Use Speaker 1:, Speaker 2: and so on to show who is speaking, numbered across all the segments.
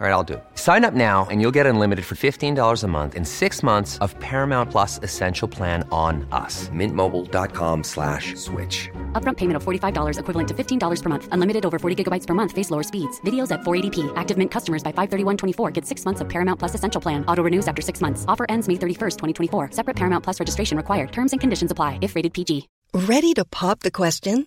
Speaker 1: All right, I'll do. it. Sign up now and you'll get unlimited for $15 a month in six months of Paramount Plus Essential Plan on us. Mintmobile.com slash switch.
Speaker 2: Upfront payment of $45 equivalent to $15 per month. Unlimited over 40 gigabytes per month. Face lower speeds. Videos at 480p. Active Mint customers by 531.24 get six months of Paramount Plus Essential Plan. Auto renews after six months. Offer ends May 31st, 2024. Separate Paramount Plus registration required. Terms and conditions apply if rated PG.
Speaker 3: Ready to pop the question?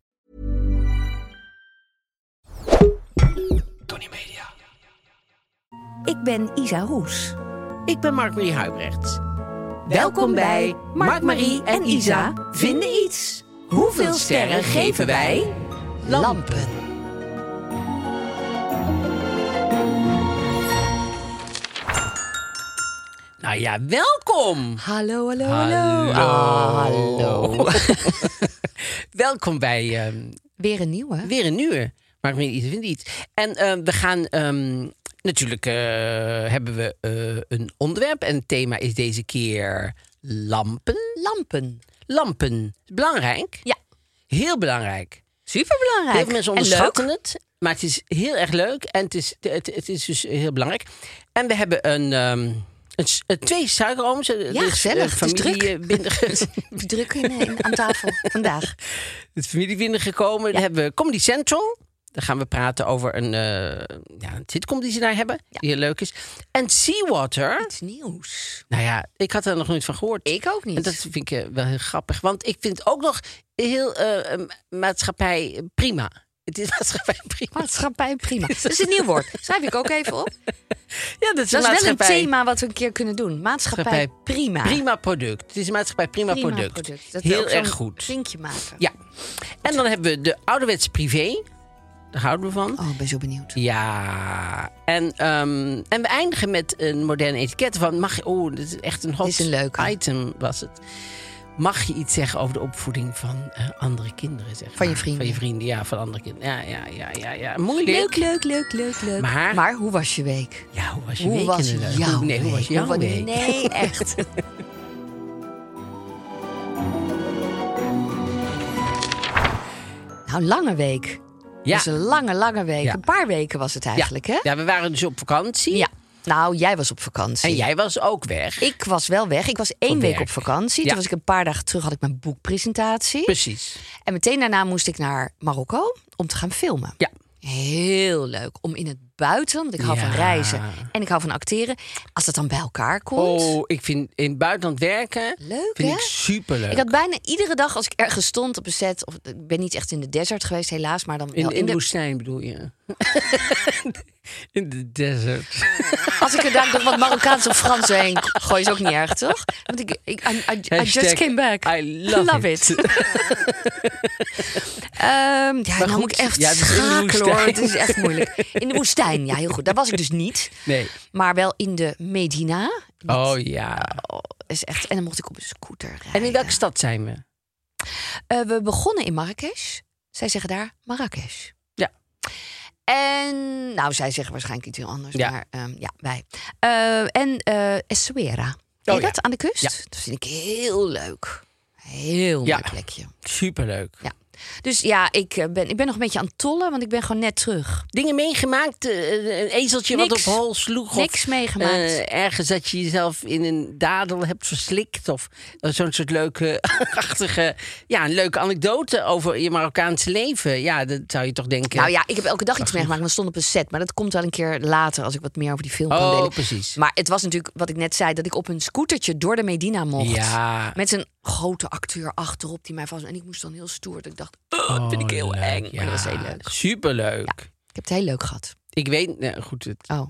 Speaker 4: Ik ben Isa Roes.
Speaker 5: Ik ben Mark-Marie Huibrecht. Welkom bij Mark-Marie en Isa vinden iets. Hoeveel sterren geven wij? Lampen. Nou ja, welkom.
Speaker 4: Hallo, hallo, hallo. Ah, hallo.
Speaker 5: Welkom bij ehm,
Speaker 4: Weer een nieuwe.
Speaker 5: weer een uur. Mark-Marie en Isa vinden iets. En ehm, we gaan... ehm, natuurlijk eh, hebben we eh, een onderwerp. En het thema is deze keer lampen.
Speaker 4: Lampen.
Speaker 5: Lampen. Belangrijk.
Speaker 4: Ja,
Speaker 5: Heel belangrijk.
Speaker 4: superbelangrijk.
Speaker 5: Heel veel mensen onderschatten het. Maar het is heel erg leuk. En het is, het, het is dus heel belangrijk. En we hebben een, ehm, een s- eh, twee suikerooms. Ja,
Speaker 4: gezellig. Het is
Speaker 5: Familie,
Speaker 4: druk.
Speaker 5: eh, binnen,
Speaker 4: En leuk. Druk in, in- aan tafel vandaag.
Speaker 5: het familie binnengekomen. Dan hebben we Comedy Central. Daar gaan we praten over een, eh, ja, een sitcom die ze daar hebben. Die heel leuk is. En Seawater.
Speaker 4: Iets nieuws.
Speaker 5: Nou ja, ik had er nog nooit van gehoord.
Speaker 4: Ik ook niet.
Speaker 5: En dat vind ik eh, wel heel grappig. Want ik vind ook nog heel eh, eh, maatschappij prima. Het is maatschappij prima.
Speaker 4: Maatschappij prima. Dat is een nieuw woord. Schrijf ik ook even op.
Speaker 5: Ja, dat
Speaker 4: Dat
Speaker 5: is,
Speaker 4: is wel een
Speaker 5: maatschappij-
Speaker 4: thema wat we een keer kunnen doen. Maatschappij
Speaker 5: Maatschappij
Speaker 4: prima.
Speaker 5: Prima product. Het is een maatschappij prima,
Speaker 4: Prima
Speaker 5: product.
Speaker 4: Dat we
Speaker 5: Heel
Speaker 4: ook zo'n
Speaker 5: erg goed.
Speaker 4: Linkje maken.
Speaker 5: Ja. En dan hebben we de ouderwets privé. Daar houden we van.
Speaker 4: Oh, ik ben zo benieuwd.
Speaker 5: Ja. En, ehm, en we eindigen met een moderne etiket. Van mag je, oh, dit is echt een hot
Speaker 4: Dit is een leuke.
Speaker 5: item was het. Mag je iets zeggen over de opvoeding van eh, andere kinderen? Zeg
Speaker 4: Van je
Speaker 5: maar.
Speaker 4: vrienden.
Speaker 5: Van je vrienden, ja. Van andere kinderen. Ja, ja, ja, ja. ja. Moeilijk.
Speaker 4: Leuk, leuk, leuk, leuk, leuk.
Speaker 5: Maar-
Speaker 4: hoe was je week?
Speaker 5: Ja, hoe was je
Speaker 4: Hoe
Speaker 5: week
Speaker 4: was
Speaker 5: inderdaad?
Speaker 4: jouw
Speaker 5: Hoe- nee, hoe was
Speaker 4: week?
Speaker 5: jouw
Speaker 4: Hoe wa-
Speaker 5: week?
Speaker 4: Nee, echt. nou, lange week.
Speaker 5: Ja.
Speaker 4: Dus een lange, lange week.
Speaker 5: Ja.
Speaker 4: Een paar weken was het eigenlijk,
Speaker 5: ja.
Speaker 4: hè?
Speaker 5: Ja, we waren dus op vakantie.
Speaker 4: Ja. Nou, jij was op vakantie.
Speaker 5: En jij was ook weg.
Speaker 4: Ik was wel weg. Ik was één
Speaker 5: Voor
Speaker 4: week
Speaker 5: werk.
Speaker 4: op vakantie.
Speaker 5: Ja.
Speaker 4: Toen was ik een paar dagen terug, had ik mijn boekpresentatie.
Speaker 5: Precies.
Speaker 4: En meteen daarna moest ik naar Marokko om te gaan filmen.
Speaker 5: Ja.
Speaker 4: Heel leuk om in het buitenland, want ik hou van
Speaker 5: Ja.
Speaker 4: reizen en ik hou van acteren, als dat dan bij elkaar komt.
Speaker 5: Oh, ik vind in het buitenland werken
Speaker 4: Leuk,
Speaker 5: vind
Speaker 4: hè?
Speaker 5: ik superleuk.
Speaker 4: Ik had bijna iedere dag als ik ergens stond op een set, of ik ben niet echt in de desert geweest helaas, maar dan wel
Speaker 5: in,
Speaker 4: in,
Speaker 5: in de
Speaker 4: de,
Speaker 5: woestijn bedoel je? in de desert.
Speaker 4: als ik er dan nog wat Marokkaans of Frans heen gooi, is ook niet erg, toch? Want ik, ik I, I- I just
Speaker 5: Hashtag
Speaker 4: came back.
Speaker 5: I love it.
Speaker 4: Ehm, ja, nou
Speaker 5: goed,
Speaker 4: moet ik echt
Speaker 5: ja, het is in de
Speaker 4: schakelen hoor.
Speaker 5: woestijn.
Speaker 4: Het is echt moeilijk. In de woestijn, ja, heel goed. Daar was ik dus niet.
Speaker 5: Nee.
Speaker 4: Maar wel in de Medina. Dat
Speaker 5: Oh ja.
Speaker 4: is echt, en dan mocht ik op een scooter rijden.
Speaker 5: En in welke stad zijn we?
Speaker 4: Eh, we begonnen in Marrakesh. Zij zeggen daar Marrakesh.
Speaker 5: Ja.
Speaker 4: En, nou, zij zeggen waarschijnlijk iets heel anders,
Speaker 5: Ja.
Speaker 4: maar ehm, ja, wij. Eh, en eh Essaouira. Ken je
Speaker 5: ja.
Speaker 4: dat aan de kust?
Speaker 5: Ja.
Speaker 4: Dat vind ik heel leuk. Heel
Speaker 5: Ja.
Speaker 4: mooi plekje.
Speaker 5: Superleuk.
Speaker 4: Ja. Dus ja, ik eh, ben, ik ben nog een beetje aan het tollen, want ik ben gewoon net terug.
Speaker 5: Dingen meegemaakt? eh, een ezeltje wat
Speaker 4: Niks.
Speaker 5: op hol sloeg?
Speaker 4: Niks
Speaker 5: of,
Speaker 4: meegemaakt.
Speaker 5: eh, ergens dat je jezelf in een dadel hebt verslikt? Of eh, zo'n soort leuke, achtige... Ja, een leuke anekdote over je Marokkaanse leven. Ja, dat zou je toch denken...
Speaker 4: Nou ja, ik heb elke dag iets meegemaakt, want ik stond op een set. Maar dat komt wel een keer later, als ik wat meer over die film kan
Speaker 5: Oh,
Speaker 4: delen.
Speaker 5: precies.
Speaker 4: Maar het was natuurlijk, wat ik net zei, dat ik op een scootertje door de Medina mocht.
Speaker 5: Ja.
Speaker 4: Met een grote acteur achterop die mij vast... En ik moest dan heel stoer. Dat ik dacht, oh, dat vind ik
Speaker 5: Oh,
Speaker 4: heel
Speaker 5: leuk.
Speaker 4: eng. Maar dat was
Speaker 5: Ja,
Speaker 4: heel leuk.
Speaker 5: Superleuk.
Speaker 4: Ik heb het heel leuk gehad.
Speaker 5: Ik weet, nou, goed, het,
Speaker 4: Oh.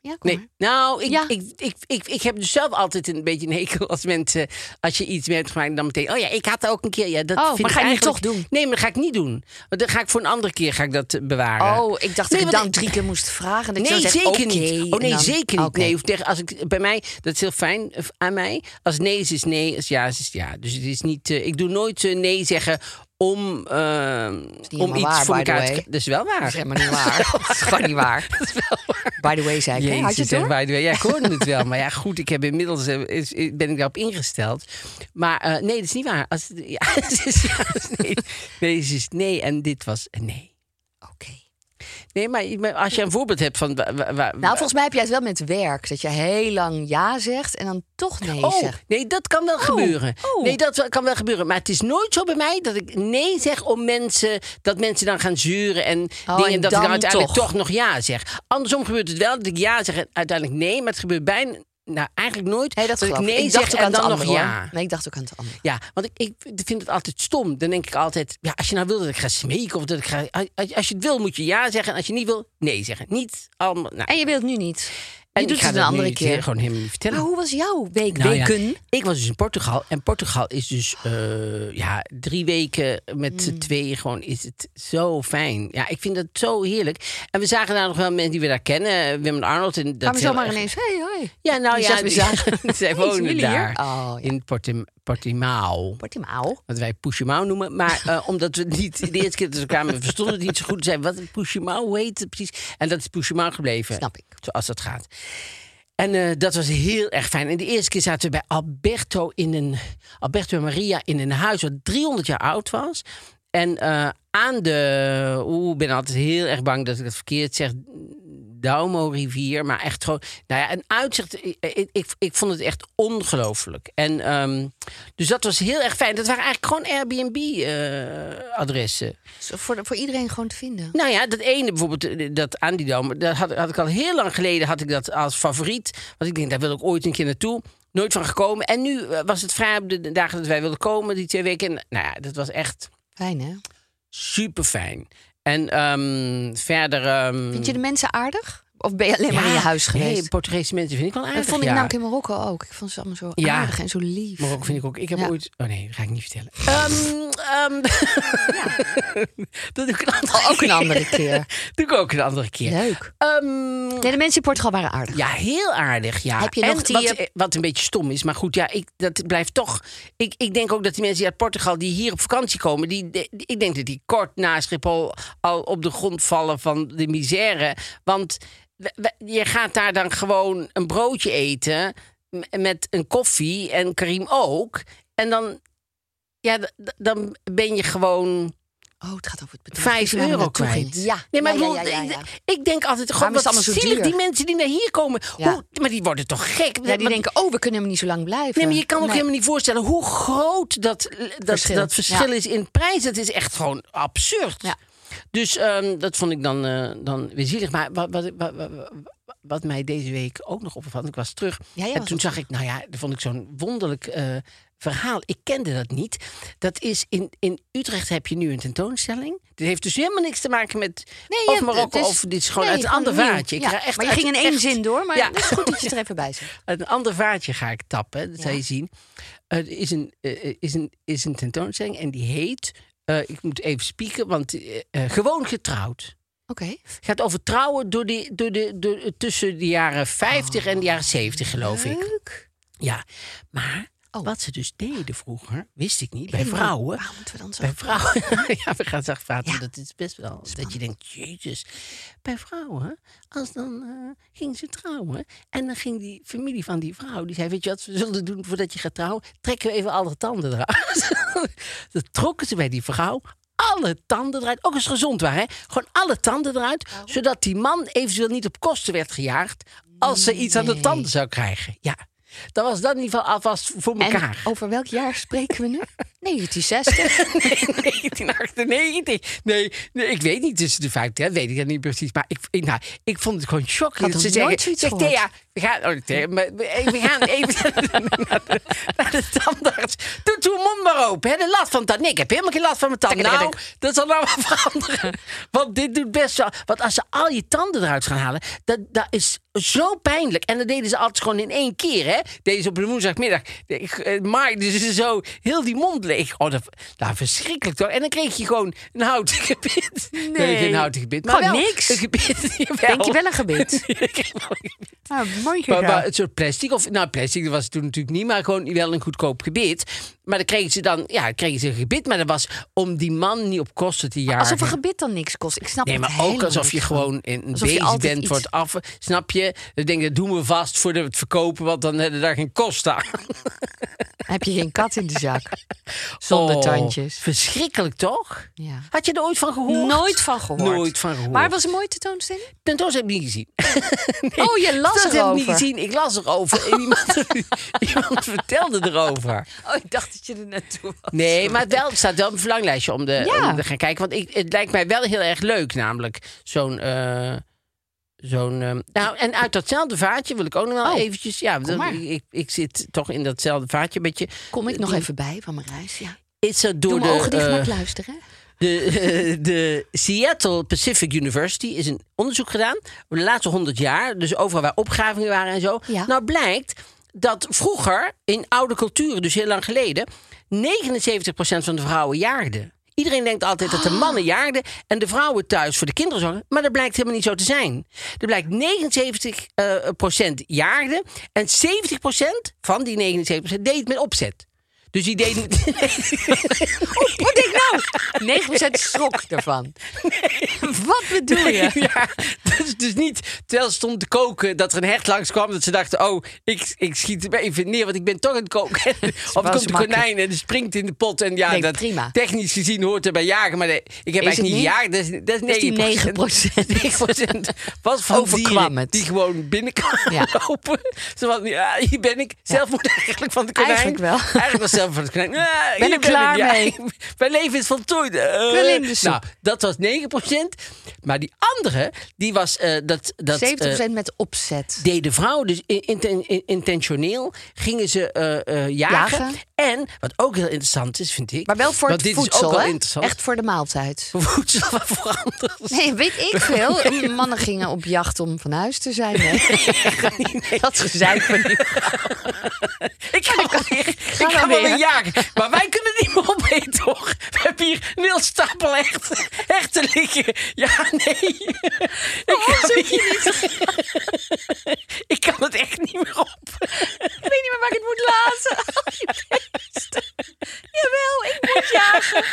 Speaker 4: Ja, kom
Speaker 5: Nee.
Speaker 4: maar.
Speaker 5: Nou, ik,
Speaker 4: Ja.
Speaker 5: ik, ik, ik, ik heb dus zelf altijd een beetje een hekel als mensen... als je iets mee hebt gemaakt, dan meteen... oh ja, ik had ook een keer... Ja, dat
Speaker 4: Oh,
Speaker 5: vind
Speaker 4: maar
Speaker 5: ik
Speaker 4: ga je nu
Speaker 5: eigenlijk-
Speaker 4: toch doen?
Speaker 5: Nee, maar dat ga ik niet doen. Want dan ga ik voor een andere keer ga ik dat eh, bewaren.
Speaker 4: Oh, ik dacht dat
Speaker 5: Nee, want
Speaker 4: je dan
Speaker 5: ik-
Speaker 4: drie keer moest vragen. Dat ik
Speaker 5: nee,
Speaker 4: zo zeg,
Speaker 5: zeker
Speaker 4: oké,
Speaker 5: niet. Oh nee,
Speaker 4: en dan-
Speaker 5: zeker niet.
Speaker 4: Oké.
Speaker 5: Nee, of tegen, als ik, bij mij, dat is heel fijn eh, aan mij. Als nee is, is nee. Als ja is, is ja. Dus het is niet, eh, ik doe nooit eh, nee zeggen om, eh,
Speaker 4: niet
Speaker 5: om
Speaker 4: helemaal
Speaker 5: iets
Speaker 4: waar,
Speaker 5: voor
Speaker 4: by the
Speaker 5: elkaar te
Speaker 4: way.
Speaker 5: krijgen. Dat is wel
Speaker 4: Dat is
Speaker 5: waar.
Speaker 4: helemaal niet waar. dat is gewoon niet waar. By the way, zei ik. hè? Had je
Speaker 5: Jezus,
Speaker 4: het
Speaker 5: zeg,
Speaker 4: door?
Speaker 5: by the way. Ja, ik hoorde het wel. Maar ja, goed, ik heb inmiddels eh, is- is- ben ik daarop ingesteld. Maar eh, nee, dat is niet waar. Als, het- ja, het is, ja, het is nee. Nee, het is nee en dit was een nee.
Speaker 4: Oké.
Speaker 5: Nee, maar, maar als je een voorbeeld hebt van... wa- wa- wa-
Speaker 4: Nou, volgens mij heb jij het wel met werk. Dat je heel lang ja zegt en dan toch nee
Speaker 5: Oh,
Speaker 4: zegt.
Speaker 5: nee, dat kan wel gebeuren.
Speaker 4: oh.
Speaker 5: Nee, dat wel- kan wel gebeuren. Maar het is nooit zo bij mij dat ik nee zeg om mensen... dat mensen dan gaan zuren en
Speaker 4: Oh,
Speaker 5: dingen...
Speaker 4: en
Speaker 5: dat ik dan
Speaker 4: dan
Speaker 5: uiteindelijk toch.
Speaker 4: toch.
Speaker 5: nog ja zeg. Andersom gebeurt het wel dat ik ja zeg en uiteindelijk nee... maar het gebeurt bijna... Nou, eigenlijk nooit
Speaker 4: Nee, dat
Speaker 5: ik
Speaker 4: geloof ik.
Speaker 5: nee
Speaker 4: ik
Speaker 5: zeg
Speaker 4: dacht ook
Speaker 5: en
Speaker 4: aan het
Speaker 5: dan
Speaker 4: andere,
Speaker 5: nog
Speaker 4: hoor.
Speaker 5: ja.
Speaker 4: Nee, ik dacht ook aan het andere.
Speaker 5: Ja, want ik, ik vind het altijd stom. Dan denk ik altijd, ja, als je nou wil dat ik ga smeken of dat ik ga... Als, als je het wil, moet je ja zeggen. En als je niet wil, nee zeggen. Niet allemaal... Nou,
Speaker 4: En je wilt nu niet. Je
Speaker 5: ik
Speaker 4: doet
Speaker 5: ga
Speaker 4: het een
Speaker 5: dat
Speaker 4: andere
Speaker 5: niet,
Speaker 4: keer.
Speaker 5: eh, Gewoon helemaal niet vertellen.
Speaker 4: Maar hoe was jouw week?
Speaker 5: Nou ja,
Speaker 4: weken?
Speaker 5: ik was dus in Portugal. En Portugal is dus eh, ja, drie weken met
Speaker 4: Mm.
Speaker 5: z'n tweeën gewoon is het zo fijn. Ja, ik vind dat zo heerlijk. En we zagen daar nog wel mensen die we daar kennen. Wim en Arnold. En dat
Speaker 4: Gaan we
Speaker 5: heel
Speaker 4: zomaar
Speaker 5: erg-
Speaker 4: ineens. Hey, hoi.
Speaker 5: Ja, nou
Speaker 4: Die
Speaker 5: ja,
Speaker 4: zagen we
Speaker 5: die-
Speaker 4: zagen.
Speaker 5: zij
Speaker 4: Hey,
Speaker 5: wonen
Speaker 4: zijn jullie hier?
Speaker 5: daar.
Speaker 4: Oh, ja.
Speaker 5: In Portim- Portimao
Speaker 4: Wordt hem ouw.
Speaker 5: wat wij Pushimau noemen. Maar eh, omdat we het niet de eerste keer dat we kwamen, we verstonden het niet zo goed. Zijn wat Pushimau, hoe heet het precies? En dat is Pushimau gebleven.
Speaker 4: Snap ik.
Speaker 5: Zoals dat gaat. En eh, dat was heel erg fijn. En de eerste keer zaten we bij Alberto, in een, Alberto en Maria in een huis wat 300 jaar oud was. En eh, aan de. Oeh, ik ben altijd heel erg bang dat ik het verkeerd zeg. Daumo-rivier, maar echt gewoon... Nou ja, een uitzicht... Ik, ik, ik, ik vond het echt ongelooflijk. En ehm, dus dat was heel erg fijn. Dat waren eigenlijk gewoon Airbnb-adressen.
Speaker 4: Is Voor, voor iedereen gewoon te vinden.
Speaker 5: nou ja, dat ene bijvoorbeeld, eh, dat aan die dome... Dat had, had ik al heel lang geleden had ik dat als favoriet. Want ik denk, daar wil ik ooit een keer naartoe. Nooit van gekomen. En nu eh, was het vrij op de dagen dat wij wilden komen, die twee weken. En, nou ja, dat was echt
Speaker 4: Fijn, hè?
Speaker 5: super fijn. En ehm, verder... ehm,
Speaker 4: Vind je de mensen aardig? Of ben je alleen maar in je huis geweest?
Speaker 5: Nee, Portugese mensen vind ik wel aardig.
Speaker 4: dat vond ik nou
Speaker 5: ja.
Speaker 4: namelijk in Marokko ook. Ik vond ze allemaal zo
Speaker 5: Ja.
Speaker 4: aardig en zo lief.
Speaker 5: Marokko vind ik ook. Ik heb
Speaker 4: Ja.
Speaker 5: ooit. Oh nee, dat ga ik niet vertellen. Ehm, ehm, dat doe ik een andere
Speaker 4: Oh, ook een
Speaker 5: keer.
Speaker 4: andere keer.
Speaker 5: doe ik ook een andere keer.
Speaker 4: Leuk.
Speaker 5: Ehm,
Speaker 4: Nee, de mensen in Portugal waren aardig.
Speaker 5: ja, heel aardig. Ja.
Speaker 4: Heb je
Speaker 5: en
Speaker 4: nog die,
Speaker 5: wat,
Speaker 4: eh,
Speaker 5: eh, wat een beetje stom is. Maar goed, ja, ik, dat blijft toch. Ik, ik denk ook dat die mensen die uit Portugal die hier op vakantie komen, die, die- ik denk dat die kort na Schiphol al op de grond vallen van de misère. Want we- we- je gaat daar dan gewoon een broodje eten m- met een koffie en Karim ook. En dan, ja, d- d- dan ben je gewoon
Speaker 4: Oh, het gaat over het bedrag. dat
Speaker 5: vijf
Speaker 4: je naar
Speaker 5: euro
Speaker 4: naartoe ging.
Speaker 5: kwijt.
Speaker 4: Ja.
Speaker 5: nee, maar
Speaker 4: ja,
Speaker 5: ik
Speaker 4: ja,
Speaker 5: bedoel,
Speaker 4: ja, ja, ja.
Speaker 5: Ik, ik denk altijd, god,
Speaker 4: Waarom is
Speaker 5: wat
Speaker 4: het allemaal zo
Speaker 5: zielig
Speaker 4: duur?
Speaker 5: die mensen die naar hier komen.
Speaker 4: Ja.
Speaker 5: Hoe, maar die worden toch gek?
Speaker 4: Ja, die
Speaker 5: Want-
Speaker 4: denken, oh, we kunnen hem niet zo lang blijven.
Speaker 5: Nee, maar je kan ook
Speaker 4: Nee.
Speaker 5: helemaal niet voorstellen hoe groot dat dat verschil,
Speaker 4: Verschil,
Speaker 5: dat verschil
Speaker 4: ja.
Speaker 5: is in prijs. Het is echt gewoon absurd.
Speaker 4: Ja.
Speaker 5: Dus ehm, dat vond ik dan, eh, dan weer zielig. Maar wat, wat, wat, wat, wat mij deze week ook nog opvalt, ik was terug.
Speaker 4: Ja, jij
Speaker 5: en
Speaker 4: was
Speaker 5: toen
Speaker 4: ook
Speaker 5: zag ik, nou ja, dat vond ik zo'n wonderlijk eh, verhaal. Ik kende dat niet. Dat is in, in Utrecht heb je nu een tentoonstelling. Dit heeft dus helemaal niks te maken met
Speaker 4: Nee,
Speaker 5: of
Speaker 4: ja,
Speaker 5: Marokko
Speaker 4: het is-
Speaker 5: of dit is gewoon
Speaker 4: nee,
Speaker 5: uit een ander
Speaker 4: nieuw.
Speaker 5: vaartje. Ik
Speaker 4: Ja,
Speaker 5: ga echt
Speaker 4: maar je
Speaker 5: uit
Speaker 4: ging in één
Speaker 5: echt-
Speaker 4: zin door, maar
Speaker 5: Ja.
Speaker 4: het is goed dat je het er even bij zegt.
Speaker 5: uit een ander vaartje ga ik tappen. hè, Dat zal je zien. Er is, een, eh, is, een, is een tentoonstelling en die heet... eh, ik moet even spieken, want eh, eh, gewoon getrouwd.
Speaker 4: Oké.
Speaker 5: Gaat over trouwen door de, door de, door, eh, tussen de jaren 50 en de jaren 70, geloof ik.
Speaker 4: Leuk.
Speaker 5: Ja, maar
Speaker 4: Oh.
Speaker 5: wat ze dus deden vroeger, wist ik niet, bij
Speaker 4: Helemaal-
Speaker 5: vrouwen...
Speaker 4: Waarom moeten we dan zo?
Speaker 5: Bij vrouwen, ja, we gaan zacht praten,
Speaker 4: Ja.
Speaker 5: want dat is best wel. Dat je denkt, jezus. Bij vrouwen, als dan eh, ging ze trouwen. En dan ging die familie van die vrouw, die zei: Weet je wat we zullen doen voordat je gaat trouwen? Trekken we even alle tanden eruit. dan trokken ze bij die vrouw alle tanden eruit. Ook eens gezond waren, hè? Gewoon alle tanden eruit, zodat die man eventueel niet op kosten werd gejaagd. als ze iets aan de tanden zou krijgen. Ja. Dat was dan in ieder geval alvast voor
Speaker 4: En
Speaker 5: elkaar.
Speaker 4: over welk jaar spreken we nu? 1960.
Speaker 5: Nee, 1998. Nee, nee, ik weet niet tussen de 50, hè, weet ik dat niet precies. Maar ik, ik, nou, ik vond het gewoon shocking.
Speaker 4: had
Speaker 5: dat
Speaker 4: nog
Speaker 5: ze
Speaker 4: nooit
Speaker 5: zeggen,
Speaker 4: zoiets
Speaker 5: zeg
Speaker 4: gehoord.
Speaker 5: Thea, we gaan, oh, Thea, maar we, we gaan even naar de, naar de tandarts. Doe toen mond maar open, hè, de last van tanden. Nee, ik heb helemaal geen last van mijn tanden.
Speaker 4: Tikke, tikke,
Speaker 5: Nou, dat zal nou wel veranderen. Want dit doet best wel... Want als ze al je tanden eruit gaan halen, dat, dat is zo pijnlijk. En dat deden ze altijd gewoon in één keer, hè? Deze op de woensdagmiddag. Ik, eh, Maaiden ze zo heel die mond leeg. Oh, dat, nou, verschrikkelijk toch? En dan kreeg je gewoon een houten gebit. Nee, geen houten gebit. Maar
Speaker 4: Gewoon
Speaker 5: wel
Speaker 4: niks.
Speaker 5: Een gebit. Jawel.
Speaker 4: Denk je wel een gebit?
Speaker 5: Ik kreeg wel een gebit.
Speaker 6: Ah, mooi
Speaker 5: Maar,
Speaker 6: gedaan.
Speaker 5: maar een soort plastic. Of, nou, plastic dat was het toen natuurlijk niet, maar gewoon wel een goedkoop gebit. Maar dan kregen ze dan, ja, kregen ze een gebit. Maar dat was om die man niet op kosten te jagen.
Speaker 4: Alsof een gebit dan niks kost. Ik snap
Speaker 5: Nee,
Speaker 4: het
Speaker 5: maar ook
Speaker 4: helemaal
Speaker 5: alsof je
Speaker 4: niet.
Speaker 5: gewoon in een
Speaker 4: Alsof je
Speaker 5: bezig
Speaker 4: altijd
Speaker 5: bent
Speaker 4: iets-
Speaker 5: voor het af. Snap je? Dan denk je, dat doen we vast voor de, het verkopen, want dan hebben we daar geen kosten aan.
Speaker 4: Heb je geen kat in de zak? Zonder
Speaker 5: Oh,
Speaker 4: tandjes.
Speaker 5: Verschrikkelijk toch?
Speaker 4: Ja.
Speaker 5: Had je er ooit van gehoord?
Speaker 4: Nooit van gehoord.
Speaker 5: Nooit van gehoord.
Speaker 4: Maar het was een mooie tentoonstelling?
Speaker 5: Tentoonstelling heb ik niet gezien.
Speaker 4: oh, je las
Speaker 5: dat heb ik niet
Speaker 4: erover.
Speaker 5: gezien. Ik las erover. En iemand, iemand vertelde erover.
Speaker 4: Oh, ik dacht dat je er naartoe was.
Speaker 5: Nee, maar wel, het staat wel op mijn verlanglijstje om, de,
Speaker 4: Ja.
Speaker 5: om te gaan kijken. Want ik, het lijkt mij wel heel erg leuk, namelijk zo'n... eh, zo'n eh, nou, en uit datzelfde vaartje wil ik ook nog wel
Speaker 4: Oh,
Speaker 5: eventjes... Ja, dat-
Speaker 4: maar.
Speaker 5: ik, ik, ik zit toch in datzelfde vaartje een beetje...
Speaker 4: Kom ik nog even bij van mijn reis? Ja.
Speaker 5: Is er door
Speaker 4: Doe
Speaker 5: de,
Speaker 4: mijn ogen dicht,
Speaker 5: eh,
Speaker 4: maar ik luister, hè?
Speaker 5: de, eh, de Seattle Pacific University is een onderzoek gedaan over de laatste 100 jaar. Dus overal waar opgravingen waren en zo.
Speaker 4: Ja.
Speaker 5: Nou blijkt dat vroeger, in oude culturen, dus heel lang geleden, 79% van de vrouwen jaagden. Iedereen denkt altijd dat de mannen jaagden en de vrouwen thuis voor de kinderen zorgen. Maar dat blijkt helemaal niet zo te zijn. Er blijkt 79% eh, procent jaagden en 70% van die 79% deed het met opzet. Dus die deed het...
Speaker 4: Wat denk ik nou? 9% schrok daarvan. Wat bedoel je?
Speaker 5: Ja, dat is dus niet terwijl ze stond te koken dat er een hecht langskwam. Dat ze dachten, oh, ik, ik schiet hem even neer, want ik ben toch aan het koken. of er
Speaker 4: was
Speaker 5: komt een
Speaker 4: makkelijk.
Speaker 5: konijn en die springt in de pot. En ja,
Speaker 4: Nee,
Speaker 5: dat
Speaker 4: prima.
Speaker 5: technisch gezien hoort er bij jagen. Maar nee, ik heb
Speaker 4: Is
Speaker 5: eigenlijk
Speaker 4: het
Speaker 5: niet
Speaker 4: niet?
Speaker 5: jagen. Dat is, dat is 9%.
Speaker 4: Dat is die 9%.
Speaker 5: 9% was van
Speaker 4: Overkwam
Speaker 5: dieren
Speaker 4: het.
Speaker 5: die gewoon binnenkwamen
Speaker 4: Ja.
Speaker 5: lopen. Ze van, ja, hier ben ik. Zelf moet eigenlijk van de konijn.
Speaker 4: Eigenlijk wel.
Speaker 5: Eigenlijk was zelf van de konijn. Ja, hier
Speaker 4: Ben ik klaar
Speaker 5: ja.
Speaker 4: mee.
Speaker 5: Mijn leven is voltooid. Eh,
Speaker 4: wil in de soep.
Speaker 5: Nou, dat was 9%. Maar die andere, die was eh, dat. dat eh,
Speaker 4: 70% met opzet.
Speaker 5: deden vrouwen dus in- inten- in- intentioneel gingen ze eh, eh, jagen.
Speaker 4: Jagen.
Speaker 5: En wat ook heel interessant is, vind ik.
Speaker 4: Maar wel voor
Speaker 5: want
Speaker 4: het
Speaker 5: Nou, dit is
Speaker 4: voedsel,
Speaker 5: ook wel
Speaker 4: hè?
Speaker 5: interessant.
Speaker 4: Echt voor de maaltijd.
Speaker 5: voor voedsel maar voor anders.
Speaker 4: Nee, weet ik veel. Mannen gingen op jacht om van huis te zijn. Hè? Dat gezeik van die
Speaker 5: Ik ga wel weer, ik
Speaker 4: maar
Speaker 5: ga wel
Speaker 4: weer.
Speaker 5: weer jagen. Maar wij kunnen niet meer opeten, toch? We hebben hier een heel stapel echt, echt te liggen. Ja, nee. Ik kan, niet. ik kan het echt niet meer op.
Speaker 4: Ik weet niet meer waar ik het moet laten. Oh, je beest. Jawel, ik moet jagen.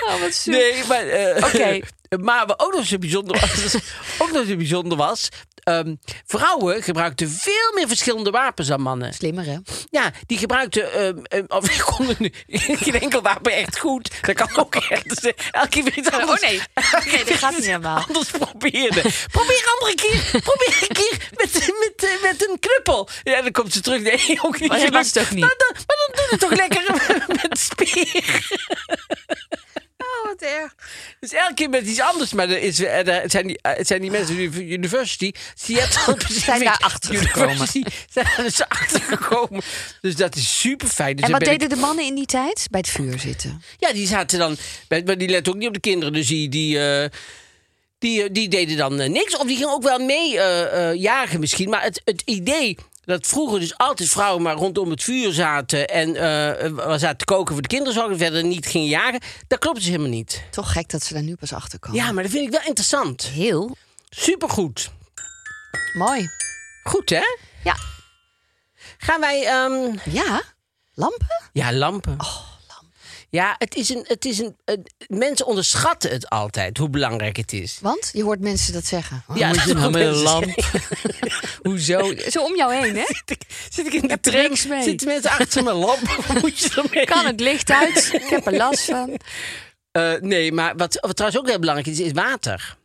Speaker 4: Oh, wat super.
Speaker 5: Nee, maar... eh,
Speaker 4: Oké.
Speaker 5: Maar wat ook nog zo bijzonder was... ook nog zo bijzonder was... ehm, vrouwen gebruikten veel meer verschillende wapens dan mannen.
Speaker 4: Slimmer, hè?
Speaker 5: Ja, die gebruikte. ehm, ehm, of ik kon nu geen enkel wapen echt goed. Dat kan ook echt. Dus, eh, elke keer weer iets anders.
Speaker 4: Oh, nee.
Speaker 5: Elke
Speaker 4: Nee, dat
Speaker 5: keer
Speaker 4: gaat
Speaker 5: iets
Speaker 4: niet helemaal.
Speaker 5: Anders probeerde. Probeer een andere keer. Probeer een keer met, met, eh, met een knuppel. Ja, dan komt ze terug. Nee, ook niet.
Speaker 4: Maar dat
Speaker 5: gelukt.
Speaker 4: was toch niet?
Speaker 5: Maar dan, maar dan doe het toch lekker met speer.
Speaker 4: Oh, wat erg.
Speaker 5: Dus elke keer met iets anders. Maar er is, eh, er zijn, die, eh, het zijn die mensen van de university. Seattle Pacific
Speaker 4: daar achter gekomen.
Speaker 5: University. Zijn daar dus achter gekomen. Dus dat is super fijn. Dus
Speaker 4: En
Speaker 5: daar
Speaker 4: wat
Speaker 5: ben ik-
Speaker 4: deden de mannen in die tijd? Bij het vuur zitten.
Speaker 5: Ja, die zaten dan. Maar die letten ook niet op de kinderen. Dus die. die eh, die, eh, die deden dan eh, niks. Of die gingen ook wel mee eh, eh, jagen misschien. Maar het, het idee dat vroeger dus altijd vrouwen maar rondom het vuur zaten... en eh, eh, zaten te koken voor de kinderzorg en verder niet gingen jagen... dat klopt dus helemaal niet.
Speaker 4: Toch gek dat ze daar nu pas achter komen.
Speaker 5: Ja, maar dat vind ik wel interessant.
Speaker 4: Heel
Speaker 5: Supergoed.
Speaker 4: mooi.
Speaker 5: Goed, hè?
Speaker 4: Ja.
Speaker 5: Gaan wij... ehm,
Speaker 4: Ja? Lampen?
Speaker 5: Ja, lampen. Oh, lampen. Ja, het is een... Het is een eh, mensen onderschatten het altijd, hoe belangrijk het is.
Speaker 4: Want je hoort mensen dat zeggen. Oh,
Speaker 5: Ja,
Speaker 4: moet je
Speaker 5: dat
Speaker 4: nou
Speaker 5: doen
Speaker 4: met een
Speaker 5: mensen
Speaker 4: lamp.
Speaker 5: Hoezo?
Speaker 4: Zo om jou heen, hè?
Speaker 5: Zit ik in de
Speaker 4: Heb je
Speaker 5: tram?
Speaker 4: niks mee?
Speaker 5: Zitten mensen achter mijn lamp? Wat moet je ermee?
Speaker 4: Kan het licht uit? Ik heb er last van.
Speaker 5: Eh, nee, maar wat, wat trouwens ook heel belangrijk is, is water.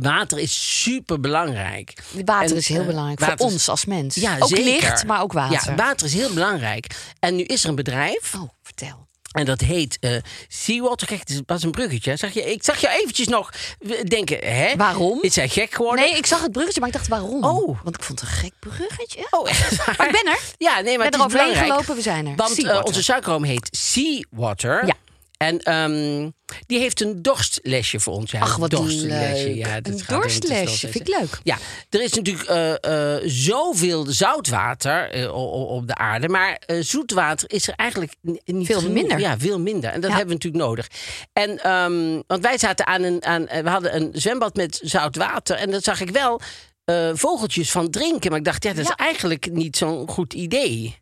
Speaker 5: Water is super belangrijk.
Speaker 4: Water
Speaker 5: En,
Speaker 4: is heel
Speaker 5: eh,
Speaker 4: belangrijk
Speaker 5: water
Speaker 4: voor
Speaker 5: is-
Speaker 4: ons als mens.
Speaker 5: Ja,
Speaker 4: ook
Speaker 5: zeker.
Speaker 4: licht, maar ook water.
Speaker 5: Ja, water is heel belangrijk. En nu is er een bedrijf
Speaker 4: Oh, vertel.
Speaker 5: En dat heet eh Seawater. Kijk, het is- was een bruggetje. Zag je, ik zag jou eventjes nog eh, denken, hè?
Speaker 4: Waarom?
Speaker 5: Is hij gek geworden?
Speaker 4: Nee, ik zag het bruggetje, maar ik dacht waarom?
Speaker 5: Oh.
Speaker 4: Want ik vond het een gek bruggetje.
Speaker 5: Oh, echt waar?
Speaker 4: Maar ik ben er.
Speaker 5: Ja,
Speaker 4: ben
Speaker 5: nee, maar het is
Speaker 4: eroverheen
Speaker 5: belangrijk.
Speaker 4: gelopen, we zijn er.
Speaker 5: Want eh,
Speaker 4: Seawater.
Speaker 5: onze suikeroom heet Seawater.
Speaker 4: Ja.
Speaker 5: En ehm, die heeft een dorstlesje voor ons. Ja,
Speaker 4: Ach,
Speaker 5: een
Speaker 4: wat
Speaker 5: dorstlesje.
Speaker 4: leuk. Een
Speaker 5: Ja, dat gaat dus helemaal tussen
Speaker 4: dorstlesje,
Speaker 5: dorstlesjes.
Speaker 4: vind ik leuk.
Speaker 5: Ja, er is natuurlijk eh, eh, zoveel zoutwater eh, o- o- op de aarde. Maar eh, zoetwater is er eigenlijk ni- niet
Speaker 4: Veel
Speaker 5: genoeg.
Speaker 4: minder.
Speaker 5: Ja, veel minder. En dat
Speaker 4: Ja.
Speaker 5: hebben we natuurlijk nodig. En, ehm, want wij zaten aan een, aan, eh, we hadden een zwembad met zout water. En daar zag ik wel eh, vogeltjes van drinken. Maar ik dacht, ja, dat
Speaker 4: Ja.
Speaker 5: is eigenlijk niet zo'n goed idee.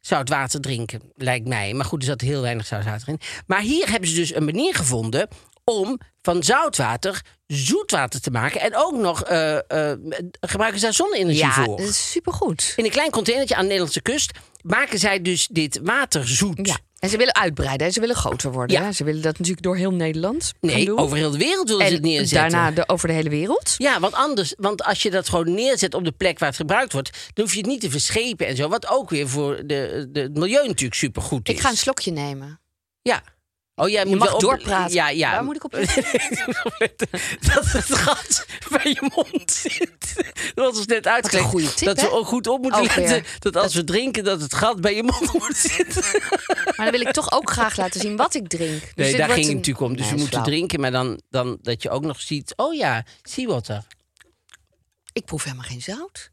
Speaker 5: Zout water drinken, lijkt mij. Maar goed, er zat heel weinig zoutwater in. Maar hier hebben ze dus een manier gevonden om van zoutwater zoetwater te maken. En ook nog eh, eh, gebruiken ze daar zonne-energie
Speaker 4: Ja, eh,
Speaker 5: voor.
Speaker 4: dat is supergoed.
Speaker 5: In een klein containertje aan de Nederlandse kust maken zij dus dit water zoet.
Speaker 4: Ja. En ze willen uitbreiden, hè. ze willen groter worden.
Speaker 5: Ja.
Speaker 4: hè. Ze willen dat natuurlijk door heel Nederland gaan
Speaker 5: Nee,
Speaker 4: doen.
Speaker 5: over heel de wereld willen
Speaker 4: en
Speaker 5: ze het neerzetten.
Speaker 4: daarna de, over de hele wereld.
Speaker 5: Ja, want anders, want als je dat gewoon neerzet op de plek waar het gebruikt wordt, dan hoef je het niet te verschepen en zo. Wat ook weer voor de, de, het milieu natuurlijk supergoed is.
Speaker 4: Ik ga een slokje nemen.
Speaker 5: Ja. Oh, jij
Speaker 4: Je
Speaker 5: moet
Speaker 4: mag
Speaker 5: wel op-
Speaker 4: doorpraten.
Speaker 5: Ja, ja.
Speaker 4: Waar moet ik op
Speaker 5: dat het gat bij je mond zit. Dat was net uitgelegd.
Speaker 4: goede tip,
Speaker 5: dat we
Speaker 4: hè?
Speaker 5: ook goed op moeten
Speaker 4: Ook weer.
Speaker 5: letten. Dat als we drinken, dat het gat bij je mond moet zitten.
Speaker 4: Maar dan wil ik toch ook graag laten zien wat ik drink. Dus
Speaker 5: Nee,
Speaker 4: dit
Speaker 5: daar
Speaker 4: wordt
Speaker 5: ging het
Speaker 4: een-
Speaker 5: natuurlijk om. Dus
Speaker 4: Nee,
Speaker 5: we
Speaker 4: is
Speaker 5: moeten
Speaker 4: flauw.
Speaker 5: drinken, maar dan, dan dat je ook nog ziet... Oh ja,
Speaker 4: Ah,
Speaker 5: seawater.
Speaker 4: Ik proef helemaal geen zout.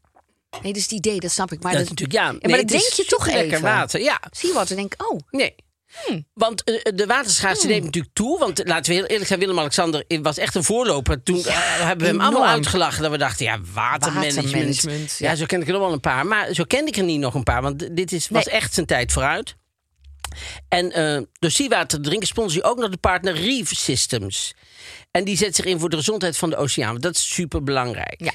Speaker 4: Nee, dus het idee, dat snap ik. Maar
Speaker 5: dat
Speaker 4: dat,
Speaker 5: is natuurlijk, ja.
Speaker 4: maar dat denk je toch
Speaker 5: lekker
Speaker 4: even.
Speaker 5: water, ja.
Speaker 4: Zie je wat? Dan denk ik, oh,
Speaker 5: Nee. Want eh, de waterschaarste
Speaker 4: Hmm.
Speaker 5: neemt natuurlijk toe. Want eh, laten we heel eerlijk zijn, Willem-Alexander eh, was echt een voorloper. Toen eh, hebben we hem allemaal
Speaker 4: enorm.
Speaker 5: uitgelachen. Dat we dachten, ja, watermanagement.
Speaker 4: Watermanagement,
Speaker 5: ja.
Speaker 4: ja.
Speaker 5: zo ken ik er nog wel een paar. Maar zo kende ik er niet nog een paar. Want dit is, was
Speaker 4: Nee.
Speaker 5: echt zijn tijd vooruit. En eh door Seawater te drinken sponsor je ook nog de partner Reef Systems. En die zet zich in voor de gezondheid van de oceaan. want Dat is super belangrijk.
Speaker 4: ja.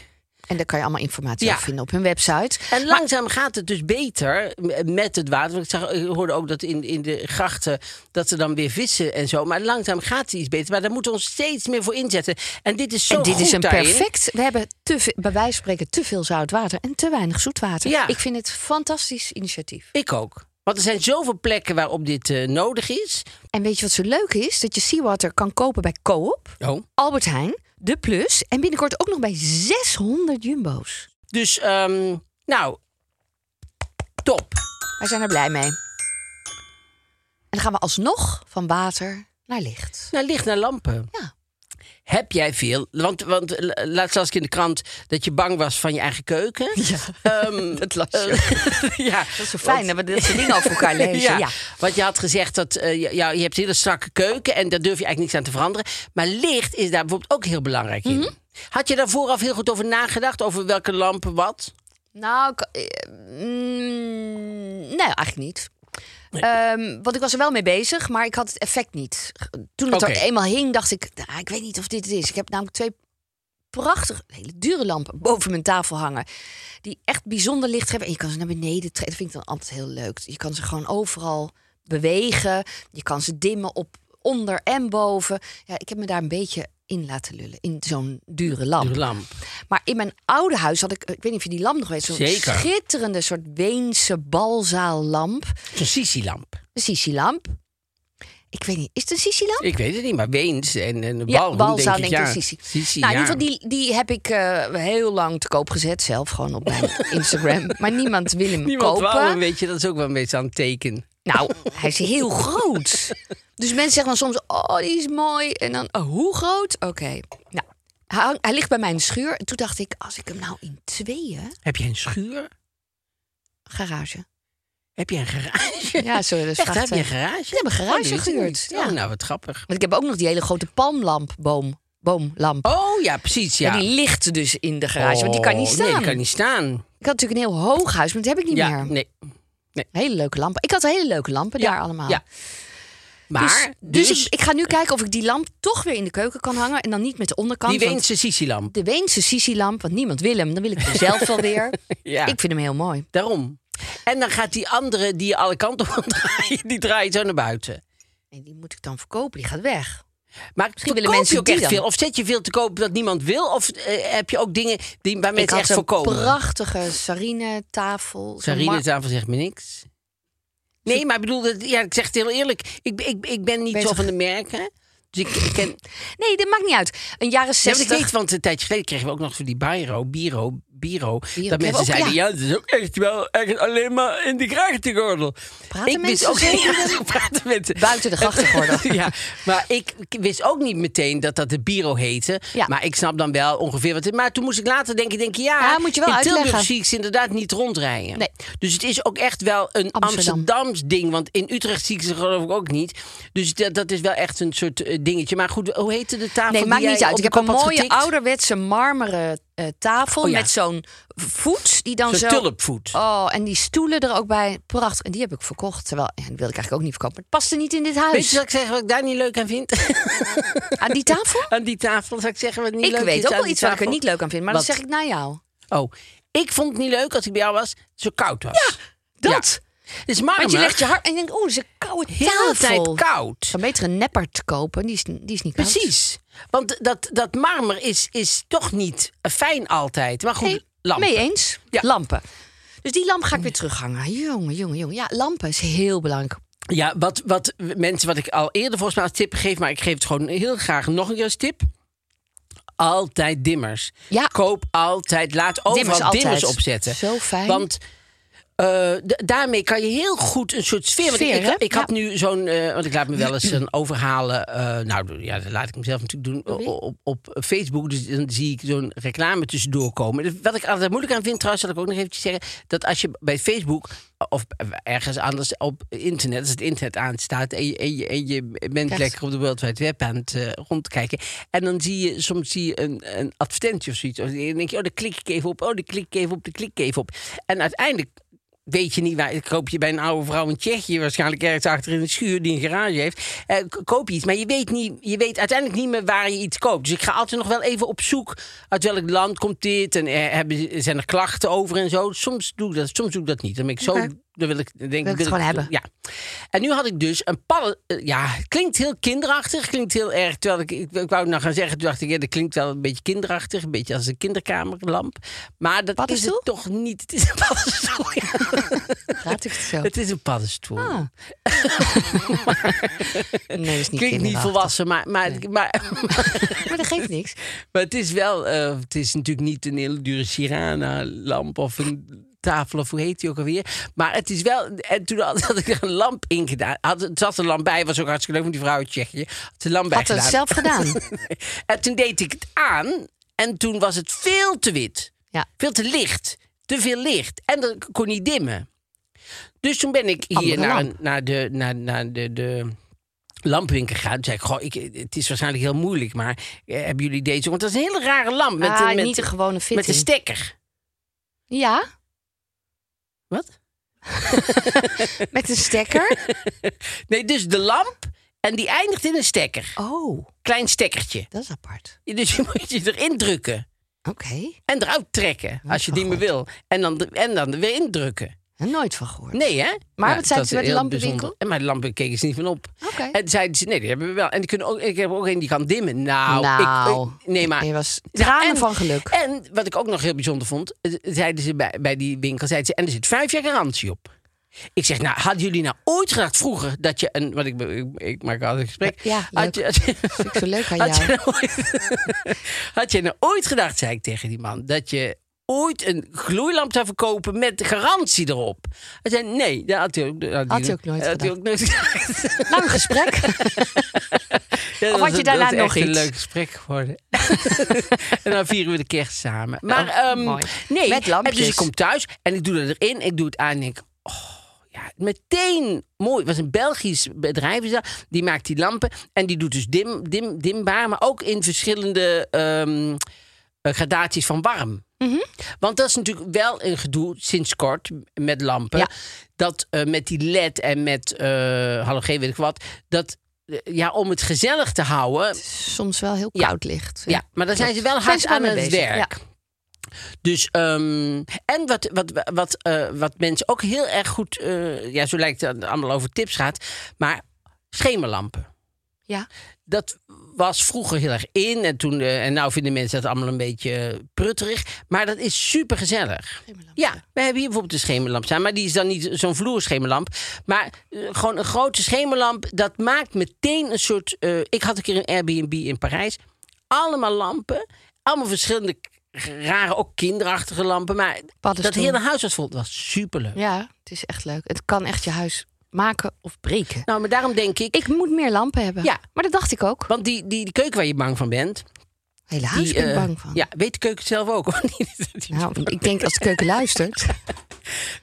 Speaker 4: En daar kan je allemaal informatie
Speaker 5: Ja.
Speaker 4: over vinden op hun website.
Speaker 5: En langzaam gaat het dus beter m- met het water. Want ik, zag, ik hoorde ook dat in, in de grachten dat er dan weer vissen en zo. Maar langzaam gaat het iets beter. Maar daar moeten we ons steeds meer voor inzetten. En dit is zo
Speaker 4: en dit
Speaker 5: goed
Speaker 4: is een
Speaker 5: daarin.
Speaker 4: perfect. We hebben te, ve- bij wijze van spreken te veel zout water en te weinig zoet water.
Speaker 5: Ja.
Speaker 4: Ik vind het een fantastisch initiatief.
Speaker 5: Ik ook. Want er zijn zoveel plekken waarop dit eh, nodig is.
Speaker 4: En weet je wat zo leuk is? Dat je seawater kan kopen bij Coop,
Speaker 5: Oh.
Speaker 4: Albert Heijn, De Plus en binnenkort ook nog bij 600 jumbo's.
Speaker 5: Dus, ehm, nou, top.
Speaker 4: Wij zijn er blij mee. En dan gaan we alsnog van water naar licht.
Speaker 5: Nou, licht naar lampen.
Speaker 4: Ja.
Speaker 5: Heb jij veel? Want, want eh, laatst las ik in de krant dat je bang was van je eigen keuken. Ja, dat las je. ja.
Speaker 4: Dat is zo fijn dat we dit soort dingen over elkaar lezen. Ja.
Speaker 5: Want je had gezegd dat eh, je- ja, je hebt een hele strakke keuken en daar durf je eigenlijk niks aan te veranderen. Maar licht is daar bijvoorbeeld ook heel belangrijk in.
Speaker 4: Mhm.
Speaker 5: Had je daar vooraf heel goed over nagedacht? Over welke lampen wat?
Speaker 4: Nou, ik- eh, mm, nee, eigenlijk niet. Ehm, want ik was er wel mee bezig, maar ik had het effect niet. Toen het
Speaker 5: Oké.
Speaker 4: er eenmaal hing, dacht ik, "Ah, ik weet niet of dit het is. Ik heb namelijk twee prachtige, hele dure lampen boven mijn tafel hangen. Die echt bijzonder licht hebben. En je kan ze naar beneden trekken. Dat vind ik dan altijd heel leuk. Je kan ze gewoon overal bewegen. Je kan ze dimmen op onder en boven. Ja, ik heb me daar een beetje in laten lullen. In zo'n dure lamp.
Speaker 5: De lamp.
Speaker 4: Maar in mijn oude huis had ik, ik weet niet of je die lamp nog weet, zo'n
Speaker 5: Zeker.
Speaker 4: schitterende soort Weense balzaallamp.
Speaker 5: Zo'n Sisi-lamp.
Speaker 4: Een Sisi-lamp. Ik weet niet, is het een Sisi-lamp?
Speaker 5: Ik weet het niet, maar Weens en, en
Speaker 4: Ja,
Speaker 5: Balroe,
Speaker 4: balzaal
Speaker 5: denk ik.
Speaker 4: denk
Speaker 5: ja.
Speaker 4: ik, Sisi.
Speaker 5: Sisi,
Speaker 4: nou, in
Speaker 5: ja.
Speaker 4: ieder geval, die, die heb ik eh, heel lang te koop gezet zelf, gewoon op mijn Instagram. Maar niemand wil hem
Speaker 5: Niemand
Speaker 4: kopen.
Speaker 5: wou hem, weet je, dat is ook wel een beetje aan het teken.
Speaker 4: Nou, hij is heel groot. Dus mensen zeggen dan soms, oh, die is mooi. En dan, oh, hoe groot? Oké. Nou, hij, hang- hij ligt bij mijn schuur. En toen dacht ik, als ik hem nou in tweeën...
Speaker 5: Heb je een schuur?
Speaker 4: Garage.
Speaker 5: Heb je een garage?
Speaker 4: Ja, sorry, dat is
Speaker 5: Echt, heb je
Speaker 4: vrachtwagen.
Speaker 5: een garage? Ik
Speaker 4: heb een garage gehuurd, ja.
Speaker 5: nou, wat grappig.
Speaker 4: Want ik heb ook nog die hele grote palmlampboom. Boomlamp.
Speaker 5: Oh ja, precies, ja.
Speaker 4: En die ligt dus in de garage, want die kan niet
Speaker 5: Oh,
Speaker 4: staan.
Speaker 5: Nee, die kan niet staan.
Speaker 4: Ik had natuurlijk een heel hoog huis, maar dat heb ik niet
Speaker 5: ja,
Speaker 4: meer.
Speaker 5: nee.
Speaker 4: Hele leuke lampen. Ik had hele leuke lampen daar allemaal.
Speaker 5: Ja. Maar,
Speaker 4: dus, dus ik, ik ga nu kijken of ik die lamp toch weer in de keuken kan hangen. En dan niet met de onderkant.
Speaker 5: die
Speaker 4: want
Speaker 5: Weense Sisi-lamp.
Speaker 4: De Weense Sisi-lamp, want niemand wil hem. Dan wil ik hem zelf wel weer.
Speaker 5: Ja.
Speaker 4: Ik vind hem heel mooi.
Speaker 5: Daarom. En dan gaat die andere die je alle kanten op kan draaien, die draait zo naar buiten.
Speaker 4: En die moet ik dan verkopen, die gaat weg.
Speaker 5: Maar
Speaker 4: Misschien willen
Speaker 5: verkoop
Speaker 4: mensen
Speaker 5: je ook
Speaker 4: die
Speaker 5: echt
Speaker 4: dan.
Speaker 5: veel? Of zet je veel te koop dat niemand wil? Of eh, heb je ook dingen die, waar
Speaker 4: ik
Speaker 5: mensen
Speaker 4: had
Speaker 5: echt
Speaker 4: zo'n
Speaker 5: voor komen?
Speaker 4: prachtige sarine-tafel. zo'n
Speaker 5: Sarine
Speaker 4: mar-
Speaker 5: tafel zegt me niks. Nee, maar ik bedoel, dat, ja, ik zeg het heel eerlijk. Ik, ik, ik ben niet
Speaker 4: Bezig.
Speaker 5: zo van de merken. Dus ik, ik ken...
Speaker 4: Nee, dat maakt niet uit. Een jaren
Speaker 5: Ja, want
Speaker 4: 60.
Speaker 5: ik weet, want een tijdje geleden kregen we ook nog voor die Biro, Biro, Biro.
Speaker 4: die
Speaker 5: dat
Speaker 4: hebben we
Speaker 5: mensen
Speaker 4: ook,
Speaker 5: zeiden,
Speaker 4: ja.
Speaker 5: ja. het is ook echt wel echt alleen maar in de grachtengordel.
Speaker 4: Praten
Speaker 5: ik wist
Speaker 4: mensen
Speaker 5: ook
Speaker 4: zo
Speaker 5: niet
Speaker 4: met
Speaker 5: Ja, praten mensen.
Speaker 4: Buiten de grachtengordel.
Speaker 5: ja, maar ik ik wist ook niet meteen dat dat de Biro heette.
Speaker 4: Ja.
Speaker 5: Maar ik snap dan wel ongeveer wat het Maar toen moest ik later denken, denk ik, ja,
Speaker 4: Ja, moet je wel
Speaker 5: in Tilburg
Speaker 4: uitleggen.
Speaker 5: zie ik ze inderdaad niet rondrijden.
Speaker 4: Nee.
Speaker 5: Dus het is ook echt wel een
Speaker 4: Amsterdam.
Speaker 5: Amsterdams ding. Want in Utrecht zie ik ze geloof ik ook niet. Dus dat, dat is wel echt een soort eh, dingetje. Maar goed, hoe heette de tafel
Speaker 4: Nee,
Speaker 5: die
Speaker 4: maakt niet
Speaker 5: jij
Speaker 4: uit.
Speaker 5: op
Speaker 4: Ik
Speaker 5: de
Speaker 4: heb een
Speaker 5: kop had
Speaker 4: mooie
Speaker 5: getikt?
Speaker 4: ouderwetse marmeren eh, tafel
Speaker 5: Oh ja.
Speaker 4: met zo'n voet die dan
Speaker 5: Zo'n
Speaker 4: zo.
Speaker 5: tulpvoet.
Speaker 4: Oh, en die stoelen er ook bij. Prachtig. En die heb ik verkocht. Terwijl, ja, die wilde ik eigenlijk ook niet verkopen. Maar het paste niet in dit
Speaker 5: Weet je
Speaker 4: huis.
Speaker 5: wat ik zeg, wat ik daar niet leuk aan vind?
Speaker 4: Aan die tafel?
Speaker 5: aan die tafel, zou ik zeggen wat niet
Speaker 4: Ik
Speaker 5: leuk is
Speaker 4: weet ook
Speaker 5: aan
Speaker 4: wel
Speaker 5: die
Speaker 4: iets wat ik er
Speaker 5: tafel?
Speaker 4: niet leuk aan vind. Maar
Speaker 5: Wat?
Speaker 4: dat zeg ik naar jou.
Speaker 5: Oh, ik vond het niet leuk als ik bij jou was, dat het zo koud was. Ja,
Speaker 4: dat.
Speaker 5: Het is marmer.
Speaker 4: Want je legt je hart en je denkt, oeh, dat is een koude
Speaker 5: heel de tijd
Speaker 4: tafel.
Speaker 5: koud.
Speaker 4: Dan beter een neppert kopen. Die is, die is niet koud.
Speaker 5: Precies. Want dat, dat marmer is, is toch niet fijn altijd. Maar goed,
Speaker 4: Nee,
Speaker 5: lampen.
Speaker 4: Mee eens?
Speaker 5: Ja.
Speaker 4: Lampen. Dus die lamp ga ik weer terughangen. Jongen, jongen, jongen. Ja, lampen is heel belangrijk.
Speaker 5: Ja, wat, wat mensen, wat ik al eerder volgens mij als tip geef, maar ik geef het gewoon heel graag nog een keer als tip. Altijd dimmers.
Speaker 4: Ja.
Speaker 5: Koop altijd, laat overal
Speaker 4: Dimmers
Speaker 5: dimmers,
Speaker 4: altijd.
Speaker 5: opzetten.
Speaker 4: Zo fijn.
Speaker 5: Want eh, d- daarmee kan je heel goed een soort sfeer. want ik-
Speaker 4: Sfeer,
Speaker 5: ik
Speaker 4: hè?
Speaker 5: ik had nu zo'n, eh, want ik laat me wel eens een overhalen. eh, nou ja, dat laat ik mezelf natuurlijk doen eh, op, op Facebook. Dus dan zie ik zo'n reclame tussendoor komen. Dus Wat ik altijd moeilijk aan vind, trouwens, zal ik ook nog eventjes zeggen, dat als je bij Facebook of ergens anders op internet, als het internet aanstaat en je, en je, en je bent
Speaker 4: Echt?
Speaker 5: lekker op de World Wide Web aan het eh, rondkijken, en dan zie je soms zie je een, een advertentie of zoiets. En dan denk je, oh, daar klik ik even op, oh, daar klik ik even op, daar klik ik even op. En uiteindelijk Weet je niet waar? Koop je bij een oude vrouw in Tsjechië, waarschijnlijk ergens achter in een schuur die een garage heeft. eh, k- koop je iets, maar je weet, niet, je weet uiteindelijk niet meer waar je iets koopt. Dus ik ga altijd nog wel even op zoek uit welk land komt dit en eh, hebben, zijn er klachten over en zo. Soms doe ik dat, soms doe ik dat niet. Dan ben ik zo. Dan wil ik, dan denk,
Speaker 4: Wil ik het gewoon hebben.
Speaker 5: Ja. En nu had ik dus een pallet. eh, ja, klinkt heel kinderachtig, klinkt heel erg. Terwijl ik, ik, ik wou het nou gaan zeggen, toen dacht ik, ja, dat klinkt wel een beetje kinderachtig, een beetje als een kinderkamerlamp. Maar dat is
Speaker 4: Paddenstoel?
Speaker 5: het toch niet. Het is een paddenstoel, ja.
Speaker 4: Raad ik het zo?
Speaker 5: Het is een paddenstoel.
Speaker 4: Ah. nee, dat is niet
Speaker 5: Klinkt niet
Speaker 4: kinderachtig.
Speaker 5: volwassen, maar, maar, maar,
Speaker 4: Maar dat geeft niks.
Speaker 5: maar het is wel. eh, het is natuurlijk niet een hele dure Sirana-lamp of een tafel of hoe heet die ook alweer. Maar het is wel. En toen had, had ik er een lamp in gedaan. Had, het zat een lamp bij, was ook hartstikke leuk, want die vrouw uit Tsjechië had de lamp bij
Speaker 4: Had het
Speaker 5: gedaan.
Speaker 4: zelf gedaan.
Speaker 5: en toen deed ik het aan en toen was het veel te wit.
Speaker 4: Ja.
Speaker 5: Veel te licht. Te veel licht. En dat ik kon niet dimmen. Dus toen ben ik hier
Speaker 4: Andere
Speaker 5: naar,
Speaker 4: lamp.
Speaker 5: een- naar de, naar, naar de, de lampwinkel gegaan. Toen zei ik, goh, ik, het is waarschijnlijk heel moeilijk, maar eh, hebben jullie deze? Want dat is een hele rare lamp. Met,
Speaker 4: Ah,
Speaker 5: een- met,
Speaker 4: niet de gewone fitting.
Speaker 5: met een stekker.
Speaker 4: Ja,
Speaker 5: Wat?
Speaker 4: met een stekker.
Speaker 5: Nee, dus de lamp en die eindigt in een stekker.
Speaker 4: Oh,
Speaker 5: Klein stekkertje.
Speaker 4: dat is apart.
Speaker 5: Dus je moet je erin drukken
Speaker 4: Oké,
Speaker 5: en eruit trekken als je
Speaker 4: van
Speaker 5: die maar
Speaker 4: God.
Speaker 5: wil. En dan, de- en dan er weer indrukken.
Speaker 4: nooit van gehoord.
Speaker 5: Nee, hè?
Speaker 4: Maar
Speaker 5: Ja,
Speaker 4: wat zeiden ze bij
Speaker 5: dat
Speaker 4: de
Speaker 5: is heel
Speaker 4: lampenwinkel?
Speaker 5: bijzonder. En bij de lampen keken ze niet van op.
Speaker 4: Oké.
Speaker 5: En zeiden ze, nee, die hebben we wel. En die kunnen ook, ik heb ook een die kan dimmen. Nou,
Speaker 4: Nou,
Speaker 5: ik, ik- nee, maar...
Speaker 4: je was
Speaker 5: Ja,
Speaker 4: tranen
Speaker 5: en-
Speaker 4: van geluk.
Speaker 5: En wat ik ook nog heel bijzonder vond, eh, zeiden ze bij, bij die winkel, zeiden ze, en er zit vijf jaar garantie op. Ik zeg, nou, hadden jullie nou ooit gedacht vroeger dat je een... Want ik, ik, ik maak altijd een gesprek.
Speaker 4: Ja, leuk.
Speaker 5: had je, had je,
Speaker 4: vind ik zo leuk aan
Speaker 5: had
Speaker 4: jou.
Speaker 5: je nou ooit, had je nou ooit gedacht, zei ik tegen die man, dat je ooit een gloeilamp zou verkopen met garantie erop? Hij zei, nee, dat had hij ook, dat
Speaker 4: Had hij ook nooit
Speaker 5: had hij
Speaker 4: gedacht.
Speaker 5: ook nooit gedacht.
Speaker 4: Lang gesprek.
Speaker 5: Ja,
Speaker 4: Of
Speaker 5: dat
Speaker 4: had je
Speaker 5: was-
Speaker 4: daarna
Speaker 5: dat is
Speaker 4: nog
Speaker 5: echt
Speaker 4: iets?
Speaker 5: een leuk gesprek geworden. en dan vieren we de kerst samen. Maar
Speaker 4: Oh,
Speaker 5: ehm,
Speaker 4: mooi.
Speaker 5: nee,
Speaker 4: Met lampjes.
Speaker 5: En dus ik kom thuis en ik doe dat erin. Ik doe het aan en ik... Oh, ja, meteen mooi. Het was een Belgisch bedrijf. is dat. Die maakt die lampen. En die doet dus dim, dim, dimbaar. Maar ook in verschillende ehm, eh, gradaties van warm.
Speaker 4: Mhm.
Speaker 5: Want dat is natuurlijk wel een gedoe sinds kort met lampen.
Speaker 4: Ja.
Speaker 5: Dat eh, met die LED en met eh halogeen, weet ik wat. Dat, eh, ja, om het gezellig te houden.
Speaker 4: Soms wel heel
Speaker 5: Ja.
Speaker 4: koud licht.
Speaker 5: Ja, maar dan zijn ze wel
Speaker 4: Zijn
Speaker 5: hard
Speaker 4: ze wel
Speaker 5: aan
Speaker 4: mee
Speaker 5: het
Speaker 4: bezig,
Speaker 5: werk. Dus, ehm, en wat, wat, wat, eh, wat mensen ook heel erg goed, eh, ja, zo lijkt het allemaal over tips gaat, maar schemerlampen.
Speaker 4: Ja.
Speaker 5: Dat was vroeger heel erg in. En, toen, eh, en nou vinden mensen dat allemaal een beetje prutterig. Maar dat is super gezellig. Ja, we hebben hier bijvoorbeeld een schemerlamp staan. Maar die is dan niet zo'n vloerschemerlamp. Maar eh, gewoon een grote schemerlamp. Dat maakt meteen een soort... eh, ik had een keer een Airbnb in Parijs. Allemaal lampen. Allemaal verschillende k- rare, ook kinderachtige lampen. Maar dat
Speaker 4: Paddenstoel.
Speaker 5: hele huis was vol. Dat was superleuk.
Speaker 4: Ja, het is echt leuk. Het kan echt je huis maken of breken.
Speaker 5: Nou, maar daarom denk ik...
Speaker 4: ik moet meer lampen hebben.
Speaker 5: Ja.
Speaker 4: Maar dat dacht ik ook.
Speaker 5: want die, die, die keuken waar je bang van bent...
Speaker 4: Hele huis
Speaker 5: die,
Speaker 4: ben ik
Speaker 5: eh,
Speaker 4: bang van.
Speaker 5: Ja, weet de keuken het zelf ook. hoor. Niet dat die-
Speaker 4: Nou, ik denk als de keuken luistert,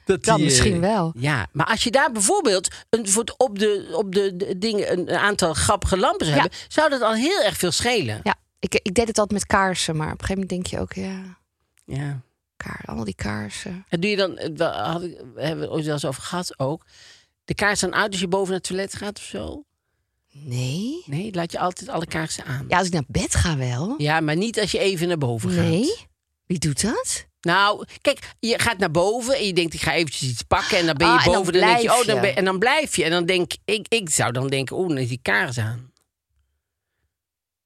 Speaker 5: dat
Speaker 4: dan
Speaker 5: die, eh,
Speaker 4: misschien wel.
Speaker 5: Ja, maar als je daar bijvoorbeeld een, voor het- op de, op de, de dingen een een aantal grappige lampen zou
Speaker 4: Ja.
Speaker 5: hebben, zou dat al heel erg veel schelen.
Speaker 4: Ja, ik, ik deed het altijd met kaarsen, maar op een gegeven moment denk je ook, ja,
Speaker 5: Ja.
Speaker 4: kaar, allemaal die kaarsen.
Speaker 5: En doe je dan, eh, wel- had ik, we hebben het ooit wel eens over gehad ook, de kaarsen aan uit als je boven naar het toilet gaat of zo?
Speaker 4: Nee.
Speaker 5: Nee, laat je altijd alle kaarsen aan.
Speaker 4: Ja, als ik naar bed ga wel.
Speaker 5: Ja, maar niet als je even naar boven gaat.
Speaker 4: nee. Wie doet dat?
Speaker 5: Nou, kijk, je gaat naar boven en je denkt, ik ga eventjes iets pakken. En dan ben je
Speaker 4: Ah, en dan
Speaker 5: boven. Dan, denk je,
Speaker 4: blijf
Speaker 5: oh, dan
Speaker 4: je.
Speaker 5: ben, en dan blijf je. En dan denk ik, ik zou dan denken, oh, dan is die kaars aan.